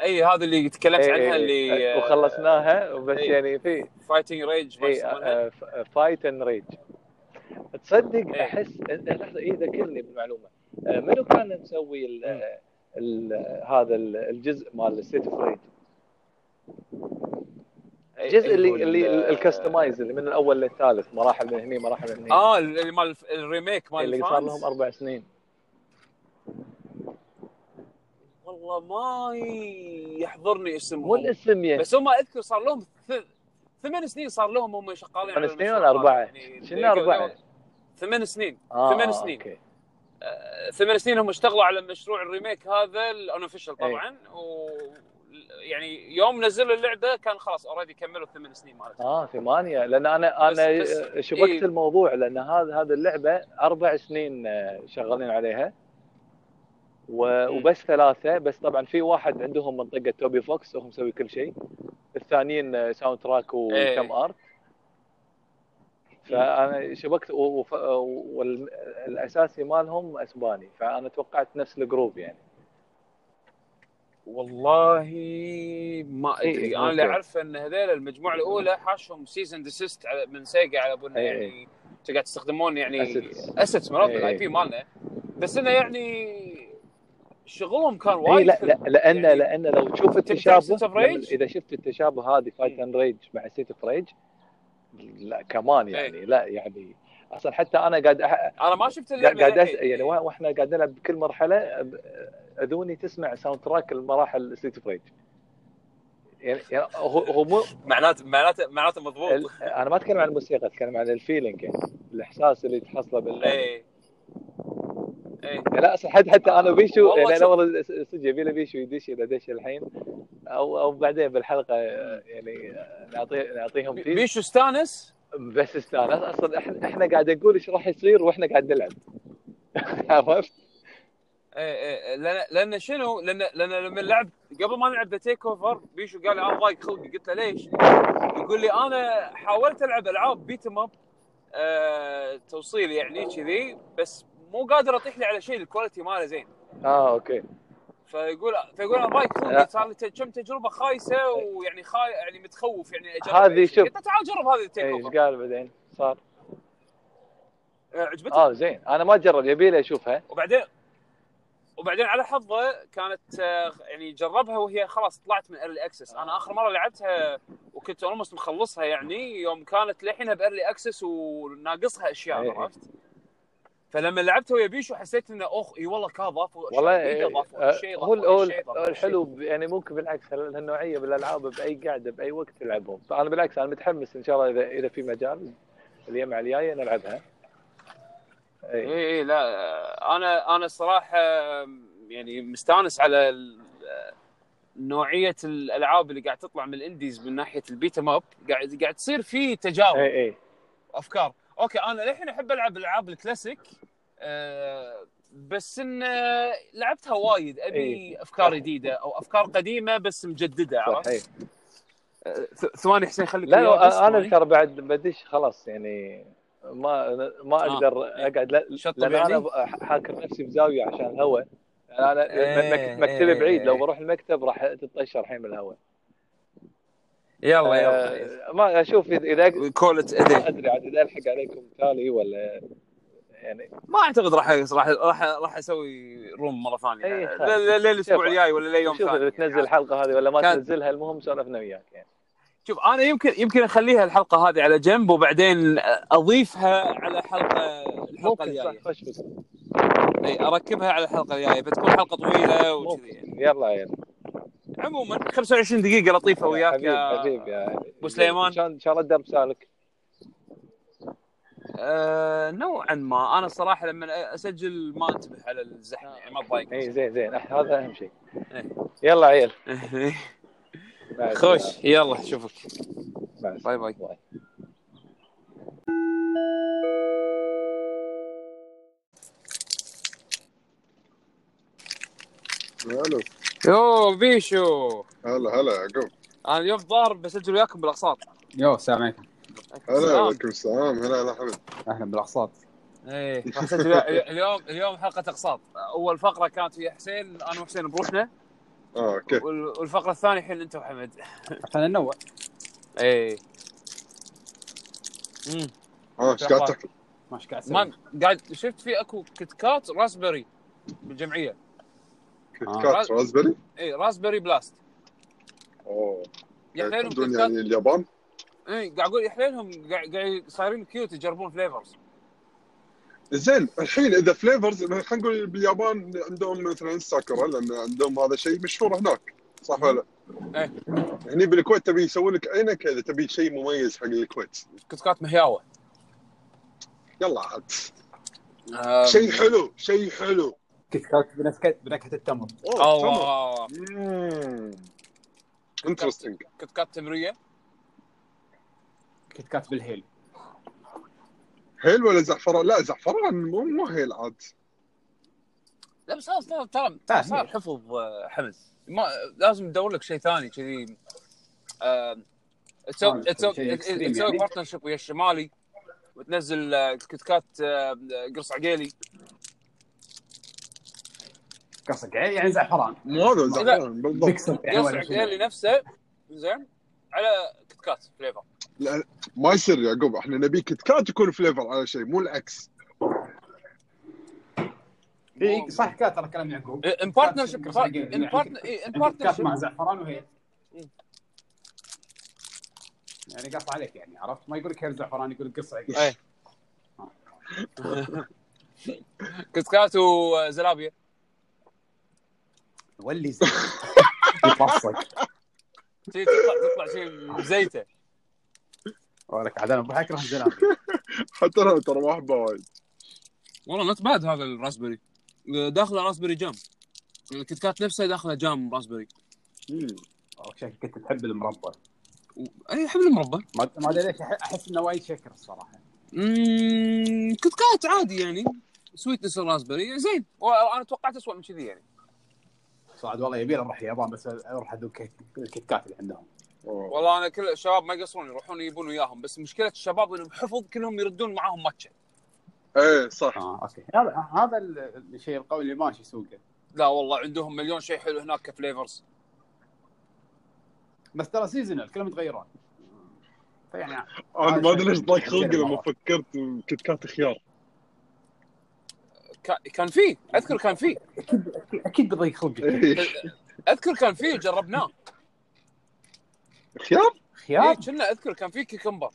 B: اي هذا اللي تكلمت
A: إي،
B: عنها
A: إي،
B: اللي آه،
A: إي،
B: إيه،
A: إيه، وخلصناها بس
B: إي.
A: يعني في
B: فايتنج ريج
A: اي آه، ف- فايت اند ريج تصدق
B: إيه.
A: احس آه، لحظه اي ذكرني بالمعلومه آه، منو كان مسوي ال-
B: مم.
A: آه، ال- آه، هذا ال- الجزء مال ستيت اوف ريج
B: إيه،
A: الجزء اللي اللي
B: آه،
A: الكستمايز اللي من الاول للثالث مراحل من هني مراحل من هني إيه،
B: اه اللي مال الف- الريميك مال
A: اللي
B: الفانز
A: صار لهم اربع سنين
B: والله ما يحضرني
A: مو
B: اسمهم
A: الاسم يعني
B: بس هم اذكر صار لهم ث- ثمان سنين صار لهم هم شغالين
A: ثمان
B: على
A: سنين
B: المشروع
A: ولا
B: هذا.
A: اربعه؟
B: يعني
A: شنو اربعه؟
B: ثمان سنين
A: آه،
B: ثمان سنين.
A: أوكي.
B: آه، ثمان سنين هم اشتغلوا على مشروع الريميك هذا الاونوفيشال
A: إيه.
B: طبعا و يعني يوم نزلوا اللعبه كان خلاص اوريدي كملوا الثمان سنين مالتهم
A: اه ثمانية لان انا انا
B: بس-
A: شبكت
B: إيه.
A: الموضوع لان هذا هذه اللعبة اربع سنين آه، شغالين عليها و-
B: مم.
A: وبس ثلاثة بس طبعا في واحد عندهم منطقة توبي فوكس وهم مسوي كل شيء الثانيين آه، ساوند تراك وكم
B: إيه.
A: ارت فانا شبكت والاساسي مالهم اسباني فانا توقعت نفس الجروب يعني
B: والله ما
A: إيه،
B: ادري
A: إيه،
B: انا اللي
A: أوكي.
B: اعرفه ان هذيل المجموعه الاولى حاشهم سيزن ديسيست من سيجا على ابونا
A: إيه،
B: يعني قاعد تستخدمون يعني
A: Assets.
B: اسيتس مرات
A: إيه،
B: الاي
A: إيه.
B: بي مالنا بس انه يعني شغلهم كان
A: اي
B: وايد
A: إيه، لا,
B: في
A: لا لان
B: يعني-
A: لان لو تشوف
B: State
A: التشابه
B: of Rage؟
A: لما- اذا شفت التشابه هذه فايت اند ريج مع سيت اوف ريج لا
B: إيه.
A: كمان يعني لا يعني اصلا حتى انا قاعد أح...
B: انا ما شفت إيه،
A: قاعد
B: اللعبه
A: قاعد أس...
B: للحين.
A: يعني وا- واحنا قاعد نلعب بكل مرحله أب- اذوني تسمع ساوند تراك المراحل سيت اوف ريج يعني يعني هو هو مو
B: معناته معناته معناته
A: ال...
B: مضبوط
A: انا ما اتكلم عن الموسيقى اتكلم عن الفيلينج يعني الاحساس اللي تحصله بال
B: ايه ايه
A: لا اصلا حتى حتى انا وبيشو
B: آه، والله
A: يعني انا
B: شوف.
A: والله صدق يبي له بيشو يدش اذا دش الحين او او بعدين بالحلقه آه، يعني آه، نعطيه نعطيهم
B: بي-
A: تيز
B: بيشو استانس
A: بس استانس اصلا احنا احنا قاعد نقول ايش راح يصير واحنا قاعد نلعب عرفت؟
B: إيه إيه لان لان شنو؟ لان لان لما لعب قبل ما نلعب ذا تيك اوفر بيشو قال لي انا ضايق خلقي قلت له ليش؟ يقول لي انا حاولت العب العاب بيت اب آه توصيل يعني كذي بس مو قادر اطيح لي على شيء الكواليتي ماله زين
A: اه اوكي
B: فيقول فيقول انا ضايق
A: لا.
B: خلقي صار لي ت- كم تجربه خايسه ويعني خاي يعني متخوف يعني اجرب
A: هذه
B: أي شيء.
A: شوف.
B: قلت له تعال جرب هذه التيك
A: إيه، ايش
B: اوفر
A: قال بعدين؟ صار
B: آه، عجبتك
A: اه زين انا ما جرب يبي لي اشوفها
B: وبعدين وبعدين على حظه كانت آه، يعني جربها وهي خلاص طلعت من ايرلي اكسس انا اخر مره لعبتها وكنت اولموست مخلصها يعني يوم كانت للحينها بايرلي اكسس وناقصها
A: إيه.
B: اشياء عرفت فلما لعبتها ويا بيشو حسيت انه اخ اي والله كا ضافوا أشياء
A: والله
B: جديدة،
A: آه،
B: ضافوا شيء
A: هو هو
B: ضافوا شيء ضافوا شيء.
A: الحلو ب- يعني ممكن بالعكس هال- هالنوعيه بالالعاب باي قعده باي وقت تلعبهم فانا بالعكس انا متحمس ان شاء الله اذا اذا في مجال الجمعه الجايه نلعبها إيه، اي
B: اي اي إيه، لا آه، انا انا الصراحه آم، يعني مستانس على ال- نوعيه الالعاب اللي قاعد تطلع من الانديز من ناحيه البيت ماب قاعد قاعد تصير في تجارب
A: اي اي
B: افكار اوكي انا للحين احب العب الالعاب الكلاسيك آه، بس ان آه، لعبتها وايد ابي
A: إيه.
B: افكار جديده او افكار قديمه بس مجدده عرفت
A: صحيح
B: آه، ث- ثواني حسين خليك
A: إيه. لا
B: وياي بس
A: لا، انا
B: ثواني.
A: ترى بعد بدش خلاص يعني ما ما اقدر
B: إيه.
A: اقعد لا
B: شط
A: لان
B: يعني؟
A: انا ب- حاكر نفسي بزاويه عشان الهواء انا
B: إيه،
A: مك- مكتبي
B: إيه.
A: بعيد لو بروح المكتب راح تطشر الحين من الهواء
B: يلا يلا
A: آه، ما اشوف إذا- اذا أق-
B: كولت
A: ما
B: ادري
A: ادري عاد اذا الحق عليكم تالي ولا يعني
B: ما اعتقد راح راح راح راح اسوي روم مره ثانيه
A: إي،
B: ل-
A: إيه، خلاص.
B: ل- للاسبوع
A: شوف.
B: الجاي ولا ليوم
A: شوف
B: ثاني يعني.
A: اذا تنزل الحلقه هذه ولا ما
B: كان-
A: تنزلها المهم سولفنا وياك يعني
B: شوف انا يمكن يمكن اخليها الحلقه هذه على جنب وبعدين اضيفها على حلقه الحلقه
A: ممكن صح
B: الجايه
A: خش بس.
B: اي اركبها على الحلقه الجايه بتكون حلقه طويله وكذي يعني.
A: يلا يلا
B: عموما 25 دقيقه لطيفه وياك
A: حبيب
B: يا
A: حبيب يا
B: أبو سليمان.
A: إن شاء- ان شاء الله الدرب سالك
B: آه نوعا ما انا الصراحه لما اسجل ما انتبه على الزحمه يعني ما
A: اي
B: اتضايق
A: إيه، زين زين أح- هذا اهم شيء
B: إيه.
A: يلا عيل إيه. مع
B: خوش يلا اشوفك
A: السلامة. مع السلامة.
B: باي باي
A: باي.
C: الو
B: يو بيشو
C: هلا هلا يعقوب
B: انا اليوم الظاهر بسجل وياكم بالاقساط
D: يو السلام عليكم
C: هلا وعليكم السلام هلا هلا حبيبي
D: اهلا بالاقساط
B: ايه راح اسجل ويا- اليوم اليوم حلقه اقساط اول فقره كانت ويا حسين انا وحسين بروحنا
C: اه اوكي
B: وال- والفقره الثانيه الحين انت وحمد
D: عشان ننوع
B: ايه امم
C: اه ايش قاعد تاكل؟
D: ما ايش قاعد تسوي؟
B: ما قاعد شفت في اكو كيت كات راسبري بالجمعيه
C: كيت
D: آه.
C: كات رازبري
B: اي إيه، راسبري بلاست
C: اوه
B: يحليلهم
C: يحبون
B: كيت
C: يعني
B: كات
C: اليابان
B: اي قاعد اقول يحليلهم قاعد قاعد صايرين كيوت يجربون فليفرز
C: زين الحين اذا فليفرز خلينا نقول باليابان عندهم مثلا الساكورا لان عندهم هذا شيء مشهور هناك صح ولا لا؟
B: إيه.
C: هني بالكويت تبي يسوون لك عينك اذا تبي شيء مميز حق الكويت
B: كيت كات مهياوه
C: يلا عاد
B: آه،
C: شيء حلو شيء حلو
D: كيت كات بنكهه بنكهه التمر
C: اوه
B: اوه
C: انترستنج
B: كيت كات تمريه
D: كيت كات بالهيل
C: هيل ولا زعفران؟ لا زعفران مو مو هيل عاد
B: لا بس هذا ترى ترى
D: فاهم.
B: صار حفظ آه، حمد ما لازم تدور لك شيء ثاني كذي آه، تسوي
D: آه، شيء
B: تسوي
D: extreme
B: تسوي
D: يعني.
B: بارتنرشيب ويا الشمالي وتنزل آه، كت كات آه، قرص عقيلي
D: قصدك يعني زعفران
C: مو هذا زعفران بالضبط
D: ميكسر يعني
B: قرص
D: ولا شيء.
B: عقيلي نفسه زين على كت كات فليفر
C: لا ما يصير يا يعقوب احنا نبي كيت كات يكون فليفر على شيء مو العكس
D: إي، صح كات ترى كلام يعقوب
B: ان بارتنرشيب
D: قرص عقيلي.
B: ان
D: كيت كات
B: بارتنرشيب
D: مع زعفران وهيل
B: مم.
D: يعني قص عليك يعني عرفت ما يقول لك هيل زعفران يقول لك قص عقيل
B: إيه. كت كات وزلابيا
D: ولي زين. يفصك
B: شي تطلع تطلع شيء زيته
D: ولك عاد انا بروح اكره الزلام
C: حتى انا ترى ما احبه وايد
B: والله نوت باد هذا الراسبري داخله راسبري جام الكيت كات نفسه داخله جام راسبري
D: شكلك كنت تحب المربى
B: و... اي احب المربى
D: ما ما ادري ليش أح- احس انه وايد شكر الصراحه
B: أمم، كيت كات عادي يعني سويتنس الراسبري زين وانا توقعت اسوء من كذي يعني
D: صعد والله يبي اروح اليابان بس اروح اذوق كيت- الكيت كات اللي عندهم
C: أوه.
B: والله انا كل الشباب ما يقصرون يروحون يجيبون وياهم بس مشكله الشباب انهم حفظ كلهم يردون معاهم ماتشا
C: ايه صح
D: اه اوكي هذا هذا ال- الشيء القوي اللي ماشي سوقه
B: لا والله عندهم مليون شيء حلو هناك كفليفرز
D: بس ترى سيزونال كلهم يتغيرون فيعني
B: آه،
C: انا ما ادري ليش ضاق
B: يعني
D: هذا
C: خلقي
D: شيء
C: لما
D: مرة.
C: فكرت كيت كات خيار
B: كا- كان في اذكر كان في
D: اكيد أكيد- اكيد بضيق خلقك
B: إيه.
C: إيه،
B: اذكر كان في جربناه
C: خيار؟
B: إيه،
D: خيار
B: كنا اذكر كان في كيكمبر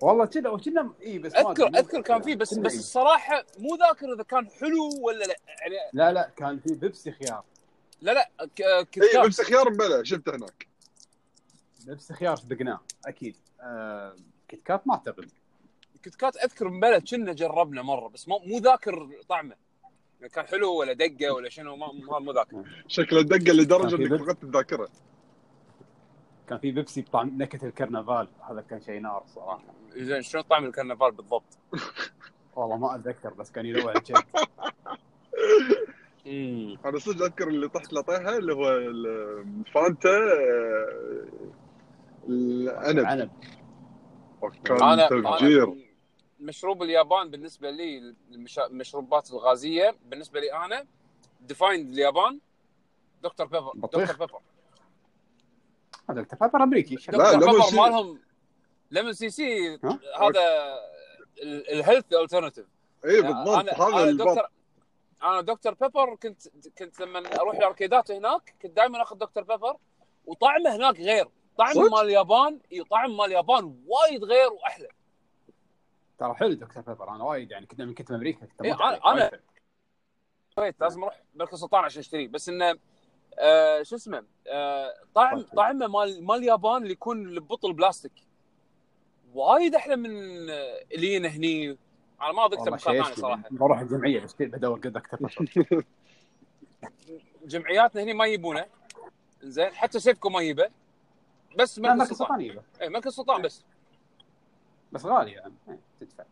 D: والله كذا وكنا اي بس ما
B: اذكر
D: أدري.
B: اذكر كان في بس
D: كنا
B: بس
D: إيه.
B: الصراحه مو ذاكر اذا كان حلو ولا لا يعني
D: لا لا كان في بيبسي خيار
B: لا لا ك- كيت
C: اي
B: كات
C: إيه، بس خيار مبلى شفته هناك
D: بيبسي خيار صدقناه اكيد آه كيت كات ما اعتقد
B: كيت كات اذكر مبلى كنا جربنا مره بس مو مو ذاكر طعمه يعني كان حلو ولا دقه ولا شنو ما ما- مو ذاك
C: شكله دقه لدرجه
D: كان في
C: انك
D: بيب-
C: فقدت الذاكره
D: كان في بيبسي بطعم نكهه الكرنفال هذا كان شيء نار صراحه
B: زين شنو طعم الكرنفال بالضبط؟
D: والله ما اتذكر بس كان يلوع الجد
C: انا صدق اذكر اللي طحت لطيها اللي هو الفانتا آه، العنب
D: عنب
C: كان تفجير
B: أنا مشروب اليابان بالنسبه لي المشا- المشروبات الغازيه بالنسبه لي انا ديفايند اليابان دكتور بيبر
D: بطيخ.
B: دكتور بيبر
D: هذا بيبر امريكي شكله.
C: لا،
B: دكتور
C: ليمون
B: بيبر
C: سي-
B: مالهم ليمون سي سي
D: ها؟
B: هذا الهيلث الترناتيف
C: اي إيه، بالضبط هذا البط
B: آه، دكتور انا دكتور بيبر كنت كنت لما اروح الاركيدات هناك كنت دائما اخذ دكتور بيبر وطعمه هناك غير طعم
C: صدق؟
B: مال اليابان إي، طعم مال اليابان وايد غير واحلى
D: ترى حلو دكتور بيبر انا وايد يعني كنت من كنت بامريكا كنت
B: إيه،
D: أموت عليه.
B: أنا- أنا-
D: وايد.
B: بيت لازم اروح بركه سلطان عشان اشتريه بس انه آه شو اسمه آه طعم طعمه مال مال اليابان اللي يكون ببطل بلاستيك وايد احلى من آه، اللي ينا هني انا ما ذقته
D: والله
B: مكان
D: شيء
B: ثاني صراحه
D: بروح الجمعيه بشتري بدور قد دكتور بيبر
B: جمعياتنا هني ما يجيبونه زين حتى سيفكو ما يجيبه بس
D: لا،
B: مركز
D: مركز
B: سلطان
D: سلطانية
B: اي مركز سلطان بس
D: بس غالي يعني إيه، تدفع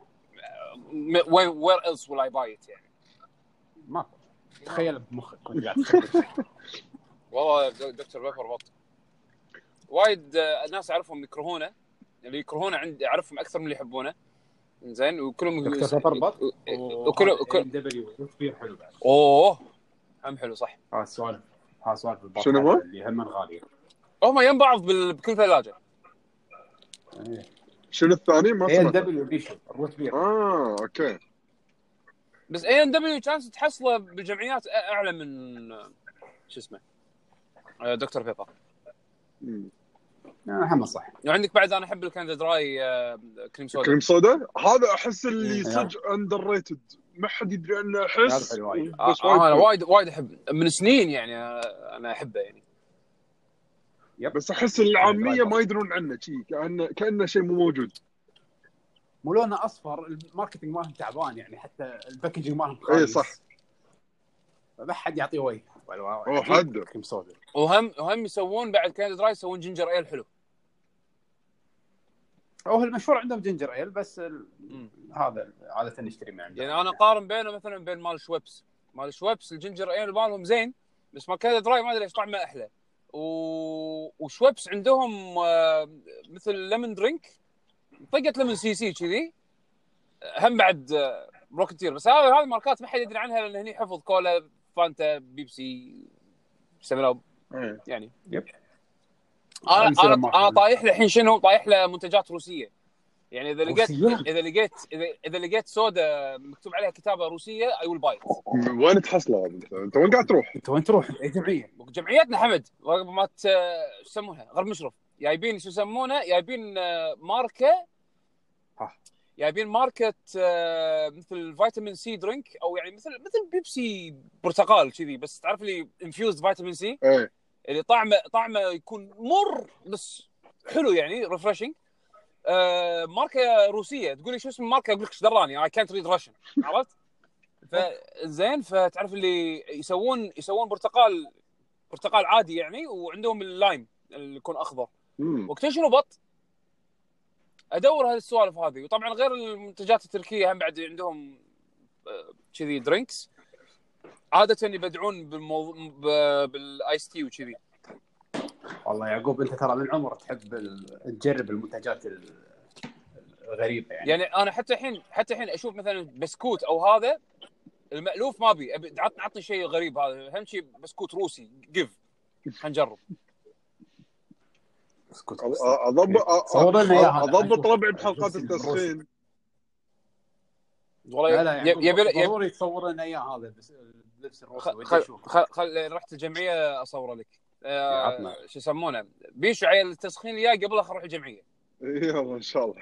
B: وير ايلس ويل اي باي ات يعني
D: ماكو تخيل بمخك وانت قاعد تسوي.
B: والله د- دكتور بيبر بط وايد آه، ناس اعرفهم يكرهونه اللي يكرهونه عند اعرفهم اكثر من اللي يحبونه زين وكلهم إيه،
D: دكتور بيبر بط
B: وكله- وكله-
D: دبليو كبير حلو بعد
B: اوه هم حلو صح
D: ها السوالف ها سوالف البط
C: شنو هو؟
D: اللي هم غاليه
B: هم يم بعض بال- بكل ثلاجه
D: إيه.
C: شنو الثاني ما
D: اي ان
C: سمعت
D: دبليو بيشو الروت بير
C: اه اوكي
B: بس اي ان دبليو كانت تحصله بالجمعيات أ- اعلى من آه، شو اسمه آه، دكتور بيبر
C: مم.
D: هم صح
B: وعندك بعد انا احب الكندا دراي آه، كريم سودا
C: كريم صودا هذا احس اللي
D: مم.
C: صدق اندر ريتد ما حد يدري عنه
D: هذا
C: احس
D: حلو وايد.
B: آه،
C: بس
B: آه، انا
C: وايد
B: وايد وايد احب من سنين يعني آه، انا احبه يعني
C: بس احس العاميه ما يدرون عنه شيء كانه كانه شيء مو موجود
D: مو لونه اصفر الماركتنج مالهم تعبان يعني حتى الباكجنج مالهم
C: إيه،
D: خايس
C: صح.
D: ما حد يعطيه وجه
C: أوه، حد.
D: كريم سودا
B: وهم وهم يسوون بعد كندا دراي يسوون جينجر ايل حلو
D: هو المشهور عندهم جينجر ايل بس ال...
B: مم.
D: هذا عاده نشتري من عنده
B: يعني انا قارن بينه مثلا بين مال شويبس مال شويبس الجينجر ايل مالهم زين بس مال كندا دراي ما ادري ايش طعمه احلى و... وشويبس عندهم آه، مثل ليمون درينك طقه ليمون سي سي كذي هم بعد آه، روكتير بس هذا هذه الماركات ما حد يدري عنها لان هني حفظ كولا فانتا بيبسي سفن أب،
C: إيه.
B: يعني
D: يب.
B: انا
D: أمثلة
B: انا
D: ما
B: انا
D: أحب.
B: طايح له الحين شنو طايح له منتجات روسيه يعني اذا لقيت
D: روسية؟
B: اذا لقيت اذا اذا لقيت سودا مكتوب عليها كتابه روسيه اي ويل باي
C: وين تحصله هذا انت؟ انت وين قاعد تروح؟
D: انت وين تروح؟ إيه، اي جمعيه
B: جمعيتنا حمد رغم ما ت- شو يسمونها غرب مشرف جايبين شو يسمونه جايبين آه، ماركه
D: ها.
B: جايبين ماركه آه، مثل فيتامين سي درينك او يعني مثل مثل بيبسي برتقال كذي بس تعرف لي انفيوزد فيتامين سي
C: ايه
B: اللي طعمه يعني طعمه يكون مر بس حلو يعني ريفرشنج آه ماركه روسيه تقول لي شو اسم الماركه اقول لك ايش دراني اي كانت ريد راشن عرفت؟ فزين فتعرف اللي يسوون يسوون برتقال برتقال عادي يعني وعندهم اللايم اللي يكون اخضر
C: مم.
B: وقت شنو بط؟ ادور هالسوالف هذه وطبعا غير المنتجات التركيه هم بعد عندهم آه، كذي درينكس عاده يبدعون بالموضوع بالايس تي وكذي
D: والله يعقوب انت ترى من عمرك تحب ال- تجرب المنتجات ال- الغريبه يعني
B: يعني انا حتى الحين حتى الحين اشوف مثلا بسكوت او هذا المالوف ما ابي ابي عط- عطني شيء غريب هذا اهم شيء بسكوت روسي قف هنجرب
D: اسكت
C: أ- أ- اضبط أ-
D: صور لنا إياها.
C: أ- اضبط ربعي بحلقات التسخين
B: والله
D: لا لا
B: يب-
D: يعقوب
B: يبي يبي
D: ضروري تصور لنا اياه هذا بس- اللبس الروسي
B: خل
D: ودي
B: خل
D: اشوفه
B: خل- خل رحت الجمعيه اصوره لك آه،
D: عطنا.
B: شو يسمونه بيشو عيل التسخين الجاي قبله خل اروح الجمعيه
C: إيه، يلا ان شاء الله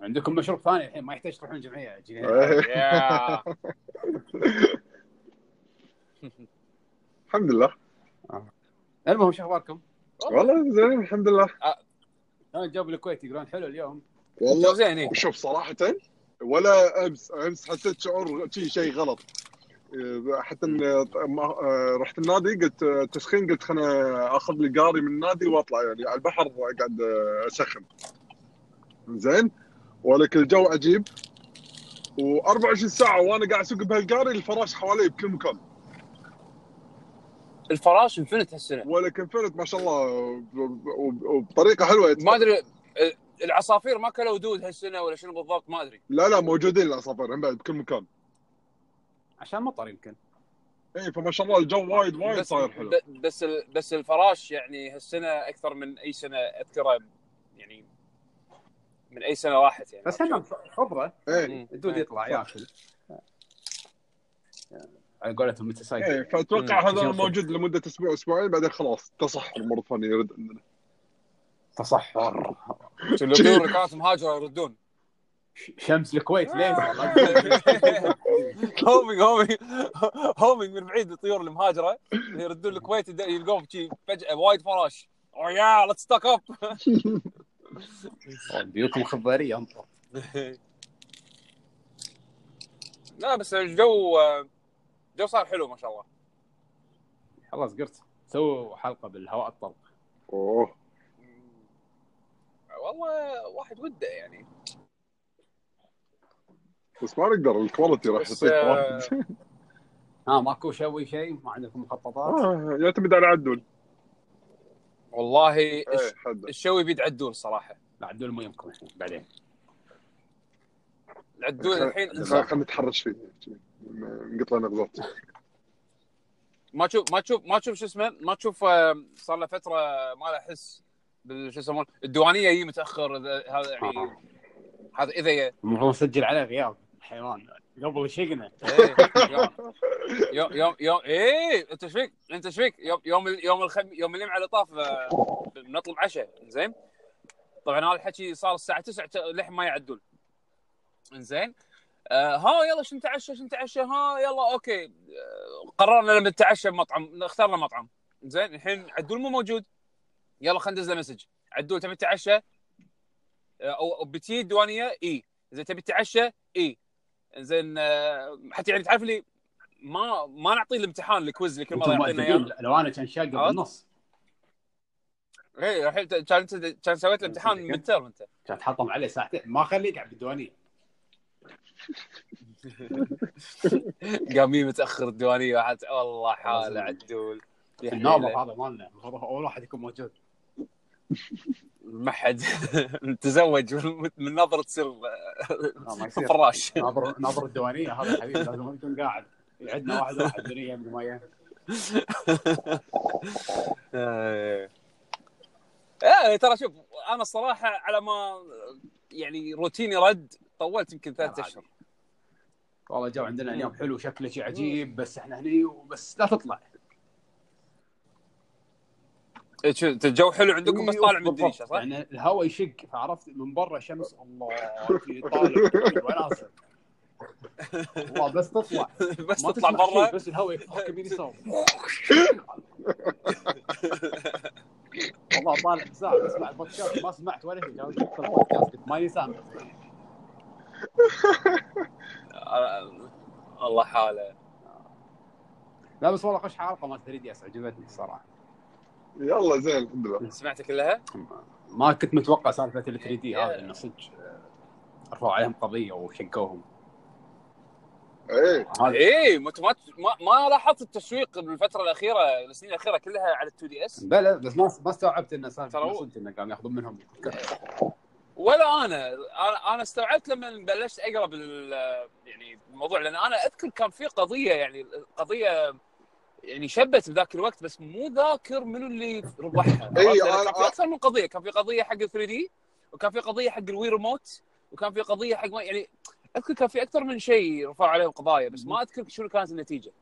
D: عندكم مشروب ثاني الحين ما يحتاج تروحون جمعيه جنيه.
C: إيه.
B: يا.
C: الحمد لله
D: المهم شو اخباركم؟
C: والله زين الحمد لله
D: انا جاب الكويت يقولون حلو اليوم
C: والله
B: زين إيه.
C: شوف صراحة ولا امس امس حسيت شعور شيء شيء غلط إيه، حتى إن- ما- آه، رحت النادي قلت آه، تسخين قلت خلنا اخذ لي قاري من النادي واطلع يعني على البحر قاعد آه، اسخن زين ولك الجو عجيب و24 ساعه وانا قاعد اسوق بهالقاري الفراش حوالي بكل مكان
B: الفراش انفنت هالسنه
C: ولك انفلت ما شاء الله وب- وب- وبطريقه حلوه يتفرج.
B: ما ادري آه، العصافير ما كلوا دود هالسنه ولا شنو بالضبط ما ادري
C: لا لا موجودين العصافير هم بعد بكل مكان
D: عشان مطر يمكن
C: اي إيه، فما شاء الله الجو وايد وايد
B: بس
C: صاير حلو
B: ب- بس ال- بس الفراش يعني هالسنه اكثر من اي سنه اذكرها يعني من اي سنه راحت يعني
D: بس يعني هم خبره
C: اي
B: مم.
D: الدود يطلع ياكل على قولتهم متى سايكل
C: اي فاتوقع
D: مم.
C: إيه، هذا موجود لمده اسبوع اسبوعين بعدين خلاص تصحر مره ثانيه يرد عندنا
D: تصحر
B: الطيور اللي كانت مهاجره يردون
D: شمس الكويت ليه والله
B: هومينج هومينج هومينج من بعيد الطيور المهاجره اللي يردون الكويت يد- يلقون شي فجاه وايد فراش Oh او يا ليتس ستاك اب
D: بيوتهم خضاريه انطر
B: لا بس الجو آه، الجو صار حلو ما شاء الله
D: خلاص قرت سووا حلقه بالهواء الطلق
C: اوه
B: والله واحد وده يعني
C: بس ما نقدر الكواليتي راح
B: بس
C: يصير واحد
B: آه،
D: ها ماكو شوي شيء ما عندكم مخططات
C: آه، يعتمد على عدول
B: والله
C: اي
B: الش-
C: حد
B: الشوي بيد عدول صراحه
D: لا عدول مو يمكم الحين بعدين
B: العدول
C: إيه.
B: الحين انسان
C: خلينا نتحرش فيه م- نقط لنا غزات
B: ما تشوف ما تشوف ما تشوف شو اسمه ما تشوف آه، صار له فتره ما له احس بال- شو يسمون الديوانيه يجي متاخر إذا- هذا يعني هذا اذا ي-
D: المفروض نسجل عليه غياب حيوان قبل شقنا
B: إيه، يوم يوم يوم ايه انت ايش فيك انت ايش فيك يوم يوم ال- يوم الخم يوم اليوم على طاف آه، بنطلب عشاء زين طبعا هذا الحكي صار الساعه 9 لحين ما يعدون زين آه ها يلا شو نتعشى شو نتعشى ها يلا اوكي آه قررنا لما نتعشى بمطعم اخترنا مطعم زين الحين عدول مو موجود يلا خلينا ندز له مسج عدول تبي تتعشى آه، او أو بتي الديوانيه اي زين تبي تتعشى اي زين آه، حتى يعني تعرف لي ما ما نعطيه الامتحان الكويز اللي كل مره
D: انتم
B: يعطينا اياه
D: مؤدبين لو انا كان شاق
B: عرفت؟
D: بالنص
B: اي إيه، الحين ت- كان أنت- كان سويت الامتحان
D: زين.
B: من ترم انت
D: كان تحطم عليه ساعتين ما خليه يقعد بالديوانيه
B: قام يجي متاخر الديوانيه واحد والله حاله عدول يا
D: النوبل
B: حيله.
D: هذا مالنا المفروض اول واحد يكون موجود
B: ما حد تزوج من- من نظره تصير
D: لا، ما يصير.
B: فراش
D: ناظر ناظر الديوانيه هذا الحبيب لازم يكون قاعد عندنا واحد واحد دنيا من مايه
B: ايه آه، ترى شوف انا الصراحه على ما يعني روتيني رد طولت يمكن ثلاثة
D: لا،
B: اشهر
D: والله جو عندنا اليوم حلو شكله شيء عجيب بس احنا هني وبس لا تطلع
B: إيه، شو- الجو حلو عندكم بس طالع من
D: إيه، بالضبط.
B: الدريشه صح؟
D: يعني الهواء يشق فعرفت من برا شمس الله في طالع طيب وناسه والله بس تطلع
B: بس
D: ما
B: تطلع
D: تسمع شيء،
B: برا
D: بس الهواء يفكر يمين يسار والله طالع ساعه اسمع البودكاست ما سمعت ولا شيء قاعد أدخل البودكاست، قلت ما يسامع
B: آه، الله حاله
D: لا بس والله خش حلقه مال 3 دي اس عجبتني الصراحه
C: يلا زين الحمد لله
B: سمعت كلها؟
D: ما كنت متوقع سالفه ال 3 دي هذا
B: Yeah.
D: انه صدق آه، رفعوا عليهم قضيه وشقوهم
C: اي
D: هذا
B: ايه ما ما, ما لاحظت التسويق بالفتره الاخيره السنين الاخيره كلها على ال2 دي اس
D: بلا بس ما ما استوعبت انه سالفه
B: ترى إيه.
D: إنه
B: هو-
D: صدق انه قام ياخذون منهم
B: ولا انا انا انا استوعبت لما بلشت اقرا بال يعني الموضوع لان انا اذكر كان في قضيه يعني قضيه يعني شبت بذاك الوقت بس مو ذاكر منو اللي ربحها
C: إيه،
B: عرفت؟ لأن
C: أنا-
B: كان في اكثر من قضيه كان في قضيه حق ال 3 دي وكان في قضيه حق الوي ريموت وكان في قضيه حق ما يعني اذكر كان في اكثر من شيء رفعوا عليهم قضايا بس ما اذكر شنو كانت النتيجه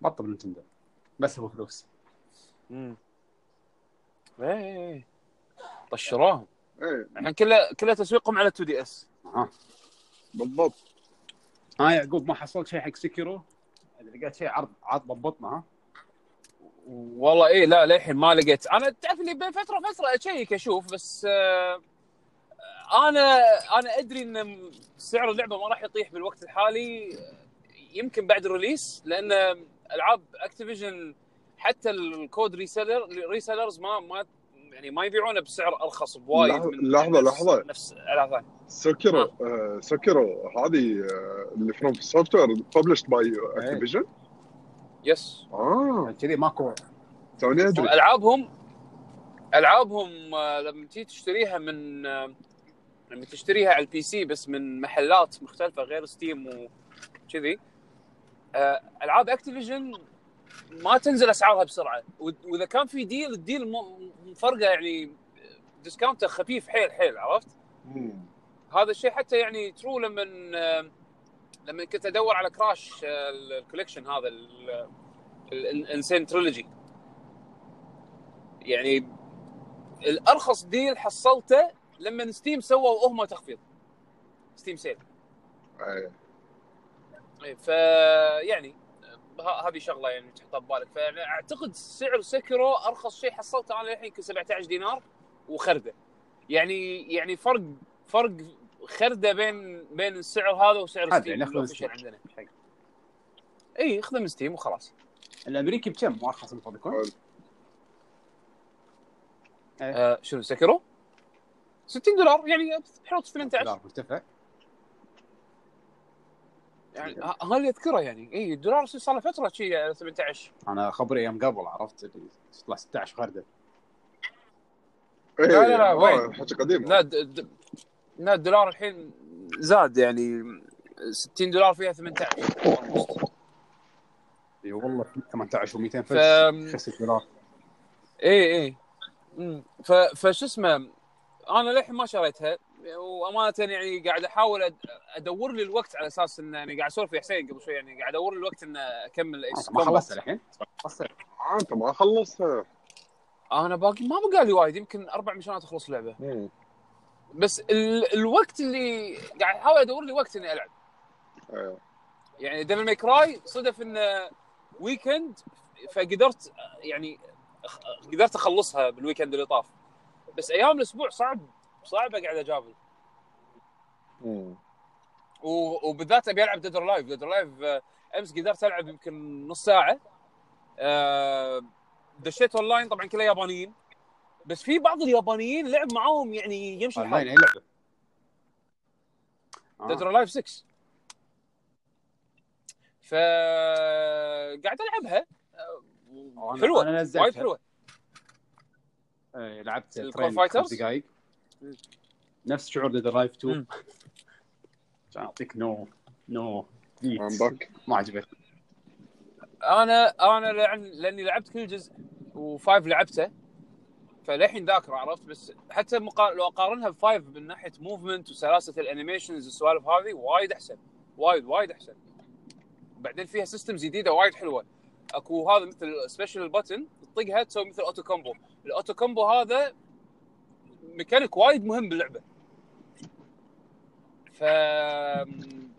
D: بطل نتندو بس هو فلوس
B: امم ايه طشروهم
C: اي
B: الحين كله كله تسويقهم على 2 دي اس
D: آه.
C: بالضبط
D: ها يعقوب ما حصلت شيء حق سكيرو لقيت شيء عرض عرض ضبطنا ها
B: والله ايه لا للحين ما لقيت انا تعرف اللي بين فتره وفتره اشيك اشوف بس آه، انا انا ادري ان سعر اللعبه ما راح يطيح بالوقت الحالي يمكن بعد الريليس لان العاب اكتيفيجن حتى الكود ريسيلر الريسيلرز ما ما يعني ما يبيعونه بسعر ارخص بوايد
C: لحظة-
B: من
C: لحظة-
B: نفس-
C: لحظة.
B: نفس العاب ثانية.
C: سكروا آه، سكروا هذه آه، اللي فروم سوفت وير ببلشد باي اكتيفيجن
B: إيه. يس
C: اه
D: كذي ماكو
C: توني
B: آه.
C: ادري
B: العابهم العابهم آه، لما تيجي تشتريها من آه، لما تشتريها على البي سي بس من محلات مختلفه غير ستيم وكذي آه، العاب اكتيفيجن ما تنزل اسعارها بسرعه و- واذا كان في ديل الديل م- مفرقه يعني ديسكاونت خفيف حيل حيل عرفت
C: مم.
B: هذا الشيء حتى يعني ترو لما آه، لما كنت ادور على كراش آه، الكوليكشن هذا الانسين تريلوجي يعني الارخص ديل حصلته لما ستيم سووا هم تخفيض ستيم سيل
C: إيه.
B: إيه، ف يعني ه- هذه شغله يعني تحطها ببالك فانا اعتقد سعر سكرو ارخص شيء حصلته انا الحين يمكن 17 دينار وخرده يعني يعني فرق فرق خرده بين بين السعر هذا وسعر
D: عادي،
B: ستيم
D: يعني أخذ
B: اللي
D: ستيم.
B: official عندنا اي خذ من ستيم وخلاص
D: الامريكي بكم ارخص من فاضيكون؟
B: آه شنو سكرو 60 دولار يعني حوط 18
D: دولار مرتفع
B: يعني ه- هذا اللي اذكره يعني اي الدولار صار له فتره شي آه، على 18
D: انا خبري ايام قبل عرفت اللي تطلع 16 خرده
C: إيه،
B: لا، لا،
C: آه،
B: وين؟
C: حكي قديم
B: لا د... د... لا الدولار الحين زاد يعني 60 دولار فيها 18
D: اي والله 18 و200
B: ف
D: فلس 5 دولار
B: اي اي أمم. إيه، ف... فشو اسمه انا للحين ما شريتها وامانه يعني قاعد احاول أد... ادور لي الوقت على اساس ان يعني قاعد اسولف ويا حسين قبل شوي يعني قاعد ادور لي الوقت ان اكمل Ace
D: ما
B: Combat.
D: خلصت الحين خلصت
C: آه، انت ما خلصتها
B: انا باقي ما بقى لي وايد يمكن اربع مشانات اخلص اللعبه
C: مم.
B: بس ال... الوقت اللي قاعد احاول ادور لي وقت اني العب
C: إيه.
B: يعني ديفل ماي كراي صدف انه ويكند فقدرت يعني أخ- قدرت اخلصها بالويكند اللي طاف بس ايام الاسبوع صعب صعب اقعد اجابل
C: مم.
B: و- وبالذات ابي العب ديد اور لايف ديد اور لايف امس آه، قدرت العب يمكن نص ساعه آه، دشيت اون لاين طبعا كلها يابانيين بس في بعض اليابانيين لعب معاهم يعني يمشي
D: اونلاين
B: الحال
D: اي لعبه
B: ديد
D: آه.
B: اور لايف 6 فقاعد العبها آه،
D: أنا-
B: حلوه
D: انا
B: وايد
D: نزلتها
B: حلوه
D: آه، لعبت
B: الكون
D: ترين
B: فايترز؟
D: خمس دقائق
B: مم.
D: نفس شعور ذا درايف 2
B: مم.
D: عشان اعطيك نو نو
C: I'm back.
D: ما عجبك
B: انا انا لعن لاني لعبت كل جزء وفايف لعبته فللحين ذاكره عرفت بس حتى مقا... لو اقارنها بفايف من ناحيه موفمنت وسلاسه الانيميشنز والسوالف هذه وايد احسن وايد وايد احسن بعدين فيها سيستمز جديده وايد حلوه اكو هذا مثل سبيشل بutton تطقها تسوي مثل اوتو كومبو الاوتو كومبو هذا ميكانيك وايد مهم باللعبه ف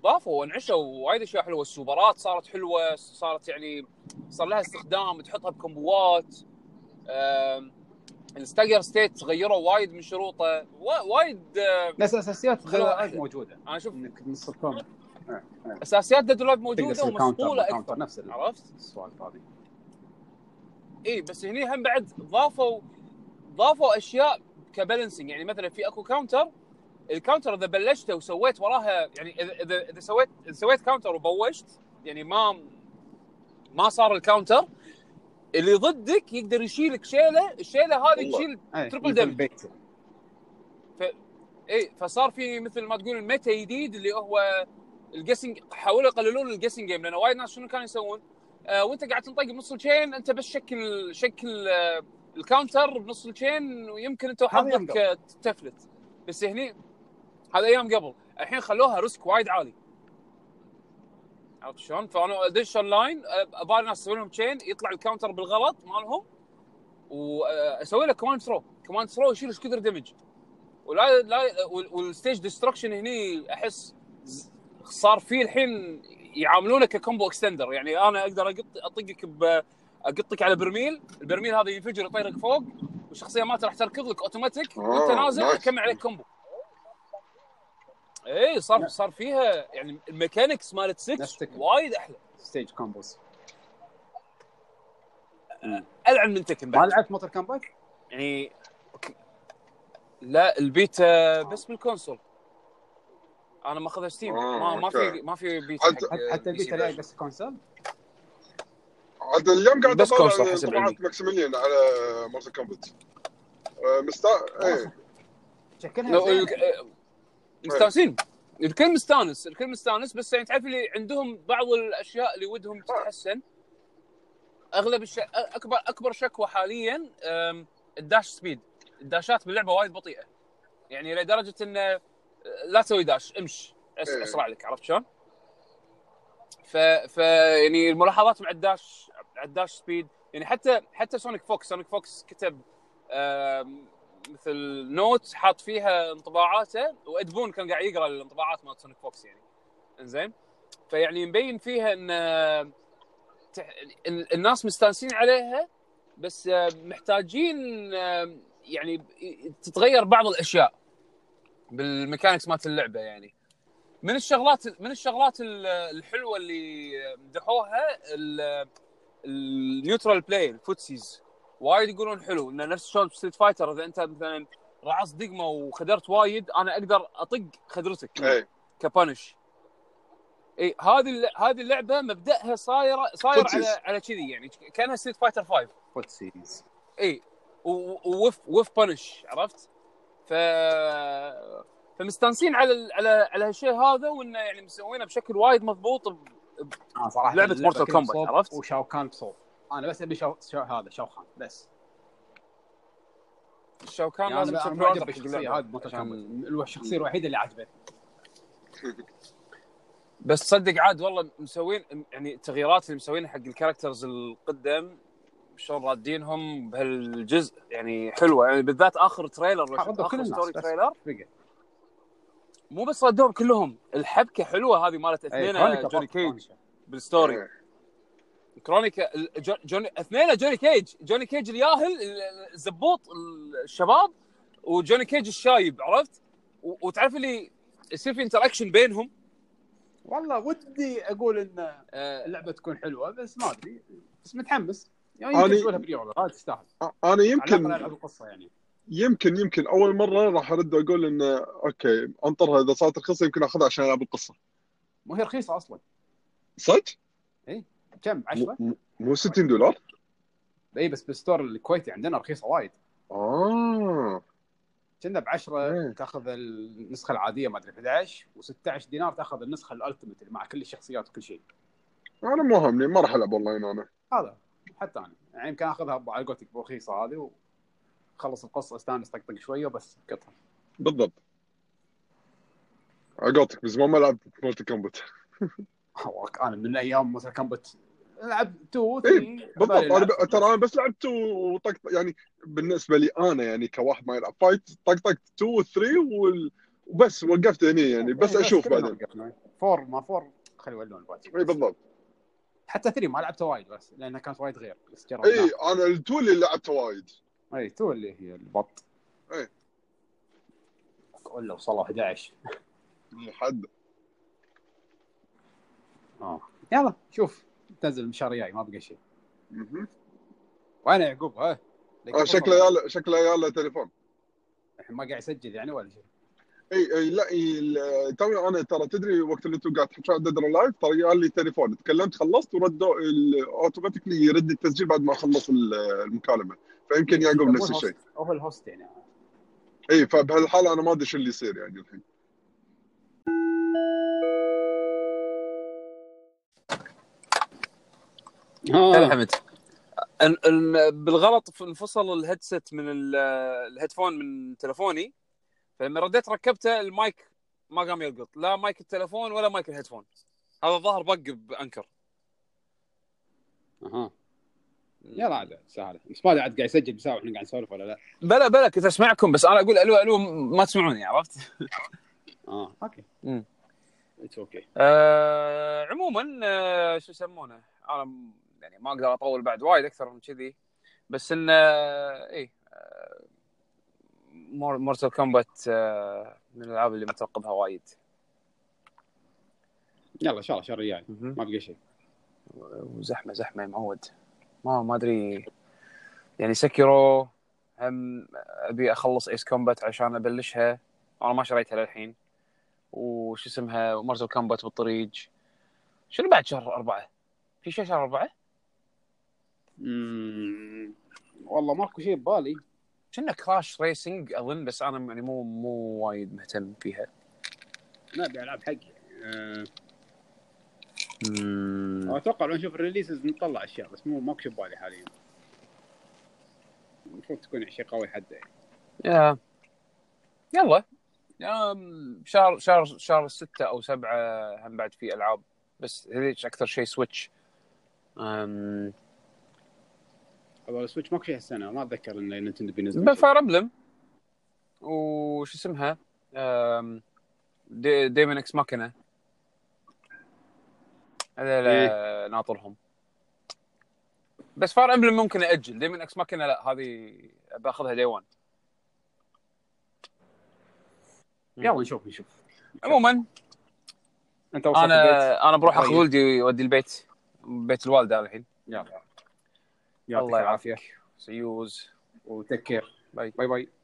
B: ضافوا وانعشوا وايد اشياء حلوه السوبرات صارت حلوه صارت يعني صار لها استخدام تحطها بكمبوات أم، الستاجر ستيت غيروا وايد من شروطه وا- وايد أه،
D: بس اساسيات
B: خلوها
D: غير
B: أحلى.
D: موجوده
B: انا اشوف
D: انك نص الكون
B: اساسيات ديد لايف
D: نعم. تقدر
B: موجوده
D: تسوي كاونتر
B: ومصقوله
D: كاونتر
B: اكثر
D: نفس ال-
B: عرفت؟
D: السوالف هذه
B: اي بس هني هم بعد ضافوا ضافوا اشياء كبالانسنج يعني مثلا في اكو كاونتر الكاونتر اذا بلشته وسويت وراها يعني إذا- اذا اذا سويت إذا سويت كاونتر وبوشت يعني ما ما صار الكاونتر اللي ضدك يقدر يشيلك شيله الشيله هذه
C: والله.
B: تشيل
D: إيه،
B: Triple
D: مثل
B: damage.
D: البيت.
B: اي إيه، فصار في مثل ما تقول الميتا جديد اللي هو الجيسنج حاولوا يقللون الجيسنج جيم لان وايد ناس شنو كانوا يسوون؟ آه وانت قاعد تنطق بنص الشين انت بس شكل شكل آه الكاونتر بنص الشين ويمكن انت
D: هذا أيام
B: وحظك آه، تفلت بس هني هذا ايام قبل الحين خلوها ريسك وايد عالي عرفت شلون؟ فانا ادش اون لاين ابالي ناس اسوي لهم تشين يطلع الكاونتر بالغلط مالهم واسوي له كوماند ثرو كوماند ثرو يشيل ايش كثر دمج ولا لا وال- والستيج ديستركشن هني احس ز- صار فيه الحين يعاملونه ككومبو اكستندر يعني انا اقدر اقط اطقك ب اقطك على برميل البرميل هذا ينفجر يطيرك فوق والشخصيه ما راح تركض لك اوتوماتيك وانت
C: آه،
B: نازل
C: نايس.
B: اكمل عليك كومبو اي صار صار فيها يعني الميكانكس مالت 6
D: نفسك.
B: وايد احلى
D: ستيج كومبوز
B: العن من تكن
D: ما
B: بعد
D: لعبت موتر كامباك؟
B: يعني ك- لا البيتا بس بالكونسول انا ماخذها ستيم ما
C: آه،
B: ما في
C: أوكي.
B: ما في بيتا
C: حتى-
B: حق، آه،
D: حتى
B: بي سي
D: البيتا لاعب
B: بس.
D: بس كونسول
C: عاد اليوم قاعد
B: بس
C: اطالع
B: كونسول حسب
C: طبعات
B: عندي.
C: ماكسيميليان على مارتل كومبات آه، مستا ايه
D: شكلها
B: لو-
D: زين.
B: الك- آه، مستانسين الكل مستانس الكل مستانس بس يعني تعرف اللي عندهم بعض الاشياء اللي ودهم تتحسن اغلب الش... اكبر اكبر شكوى حاليا أم، الداش سبيد الداشات باللعبه وايد بطيئه يعني لدرجه انه لا تسوي داش امش أس...
C: إيه.
B: اسرع لك عرفت شلون؟ ف... ف يعني الملاحظات مع الداش مع الداش سبيد يعني حتى حتى سونيك فوكس سونيك فوكس كتب أم، مثل نوت حاط فيها انطباعاته وادبون كان قاعد يقرا الانطباعات مال سونيك فوكس يعني انزين فيعني مبين فيها ان آه، تح- ال- الناس مستانسين عليها بس آه، محتاجين آه، يعني ب- تتغير بعض الاشياء بالميكانكس مالت اللعبه يعني من الشغلات من الشغلات ال- الحلوه اللي مدحوها ال- النيوترال بلاي الفوتسيز وايد يقولون حلو انه نفس شلون ستريت فايتر اذا انت مثلا رعصت دقمه وخدرت وايد انا اقدر اطق خدرتك
C: ايه
B: كبانش اي إيه، هذه الل- هذه اللعبه مبداها صايره صاير
C: فوتسيز.
B: على على كذي يعني كانها ستريت فايتر 5
D: فوتسيز
B: اي ووف إيه، وف بانش عرفت؟ ف فمستانسين على ال- على على هالشيء هذا وانه يعني مسوينه بشكل وايد مضبوط ب-
D: آه صراحه
B: لعبة
D: اللعبة
B: Mortal
D: كلها
B: Kombat،
D: بصوب
B: عرفت؟
D: وشاو كان بصوب انا بس ابي شاو, شاو هذا شاو خان بس
B: الشوكان
D: يعني
B: لازم
D: انا
B: تشوف
D: أنا معجب
B: حق
D: بالشخصيه
B: اللعبة
D: هذه موتر
B: عشان-
D: كامباك الشخصيه الوحيده اللي عجبتني
B: بس تصدق عاد والله مسوين يعني التغييرات اللي مسوينها حق الكاركترز القدم شلون رادينهم بهالجزء يعني حلوه يعني بالذات اخر تريلر لو شفت
D: حطوا آه، كل
B: اخر
D: الناس
B: ستوري
D: بس.
B: تريلر
D: بقى.
B: مو بس ردوهم كلهم الحبكه حلوه هذه مالت
D: إيه،
B: اثنين آه،
D: كرونيكا
B: جوني
D: فقط،
B: كيج
D: كرونيكا.
B: بالستوري كرونيكا ال- جو- جوني اثنين جوني كيج جوني كيج الياهل ال- الزبوط الشباب وجوني كيج الشايب عرفت و- وتعرف اللي يصير في انتراكشن بينهم
D: والله ودي اقول ان
B: آه،
D: اللعبه تكون حلوه بس ما ادري بس متحمس يعني
C: أنا-
D: يمكن تقولها بري اوردر هذا تستاهل
C: انا
D: على الاقل
C: آه، يمكن
D: العب القصه يعني
C: يمكن يمكن اول مره راح ارد اقول انه اوكي انطرها اذا صارت رخيصه يمكن اخذها عشان العب القصه
D: مو هي رخيصه اصلا
C: صدق؟
D: كم 10
C: مو- مو 60 دولار؟
D: اي بس بالستور الكويتي عندنا رخيصه وايد
C: اه
D: كنا ب 10
C: إيه.
D: تاخذ النسخه العاديه ما ادري 11 و16 دينار تاخذ النسخه الالتيميت اللي مع كل الشخصيات وكل شيء
C: انا مو همني ما راح العب اونلاين انا
D: هذا حتى انا يعني يمكن اخذها على قولتك برخيصه هذه وخلص القصه استانس طقطق شويه وبس قطها
C: بالضبط عقوتك من زمان ما لعبت مالتي كومبات
D: انا من ايام مثلا كمبت لعب 2
C: إيه، بالضبط انا ب... ترى انا بس لعبت و- وطق يعني بالنسبه لي انا يعني كواحد ما يلعب فايت طق طق 2 و 3 وال... وبس وقفت هني يعني بس اشوف بعدين إيه،
D: فور ما فور خلي يولون بعدين
C: اي بالضبط
D: حتى 3 ما لعبته وايد بس لانها كانت وايد غير بس جربناها
C: اي انا التو إيه، اللي لعبته وايد
D: اي 2 اللي هي البط
C: إي.
D: ولا وصلوا 11
C: حد
D: اه يلا شوف تنزل المشاريع جاي ما بقى شيء
C: مهم.
D: وانا يعقوب ها
C: آه، شكله يالا شكله يالا تليفون
D: الحين ما قاعد يسجل يعني ولا شيء
C: اي اي إيه، لا إي، ال- توي انا ترى تدري وقت اللي انتم قاعد تحكوا عن ديدر لايف ترى يا لي تليفون تكلمت خلصت وردوا اوتوماتيكلي يرد التسجيل بعد ما اخلص ال- المكالمه فيمكن يعقوب
D: هو
C: نفس
D: الهوست-
C: الشيء
D: هو الهوست يعني
C: اي فبهالحاله انا ما ادري شو اللي يصير يعني الحين
B: هلا حمد ال- ال- بالغلط ف- انفصل الهيدسет من ال- الهيدفون من تلفوني فلما رديت ركبته المايك ما قام يلقط لا مايك التلفون ولا مايك الهيدفون هذا الظاهر بق بانكر
D: اها يلا عاد سهله بس ما ادري عاد قاعد يسجل بساعه واحنا قاعد نسولف ولا لا
B: بلا بلا كنت اسمعكم بس انا اقول الو الو ما تسمعوني عرفت؟
D: اه اوكي
B: أمم.
D: اتس اوكي
B: آه عموما آه شو يسمونه انا م- يعني ما اقدر اطول بعد وايد اكثر من كذي بس أه، إيه، انه اي أه، مورتال كومبات من الالعاب اللي مترقبها وايد
D: يلا ان شاء الله الشهر الجاي ما بقى شيء
B: وزحمه زحمه يا معود ما ما ادري يعني سكرو هم ابي اخلص ايس كومبات عشان ابلشها انا ما شريتها للحين وش اسمها ومارتل كومبات بالطريق شنو بعد شهر أربعة؟ في شيء شهر أربعة؟
D: مم. والله ماكو شيء ببالي
B: شنو كراش ريسنج أظن بس أنا يعني مو مو وايد مهتم فيها
D: ما ابي العاب حقي أه، اتوقع لو نشوف الريليسز نطلع اشياء بس مو ماكو شيء ببالي حاليا المفروض تكون شيء قوي حده يعني.
B: يا يلا أم، شهر شهر شهر ستة أو سبعة هم بعد في ألعاب بس هذيك أكثر شيء سويتش أم،
D: والله السويتش ماكو شيء هالسنه ما اتذكر ان نينتندو بينزل شيء.
B: فاير امبلم وش اسمها أم، دي ديمن اكس ماكينه هذا لا ناطرهم بس فاير امبلم ممكن اجل ديمن اكس ماكينه لا هذه باخذها دي 1
D: يلا نشوف نشوف
B: عموما
D: انت وصلت البيت
B: انا انا بروح اخذ
D: طيب.
B: ولدي ودي البيت بيت الوالده أنا الحين
D: يلا يعطيك
B: الله
D: العافيه
B: يعافيك سيوز
D: وتكير
B: باي
D: باي باي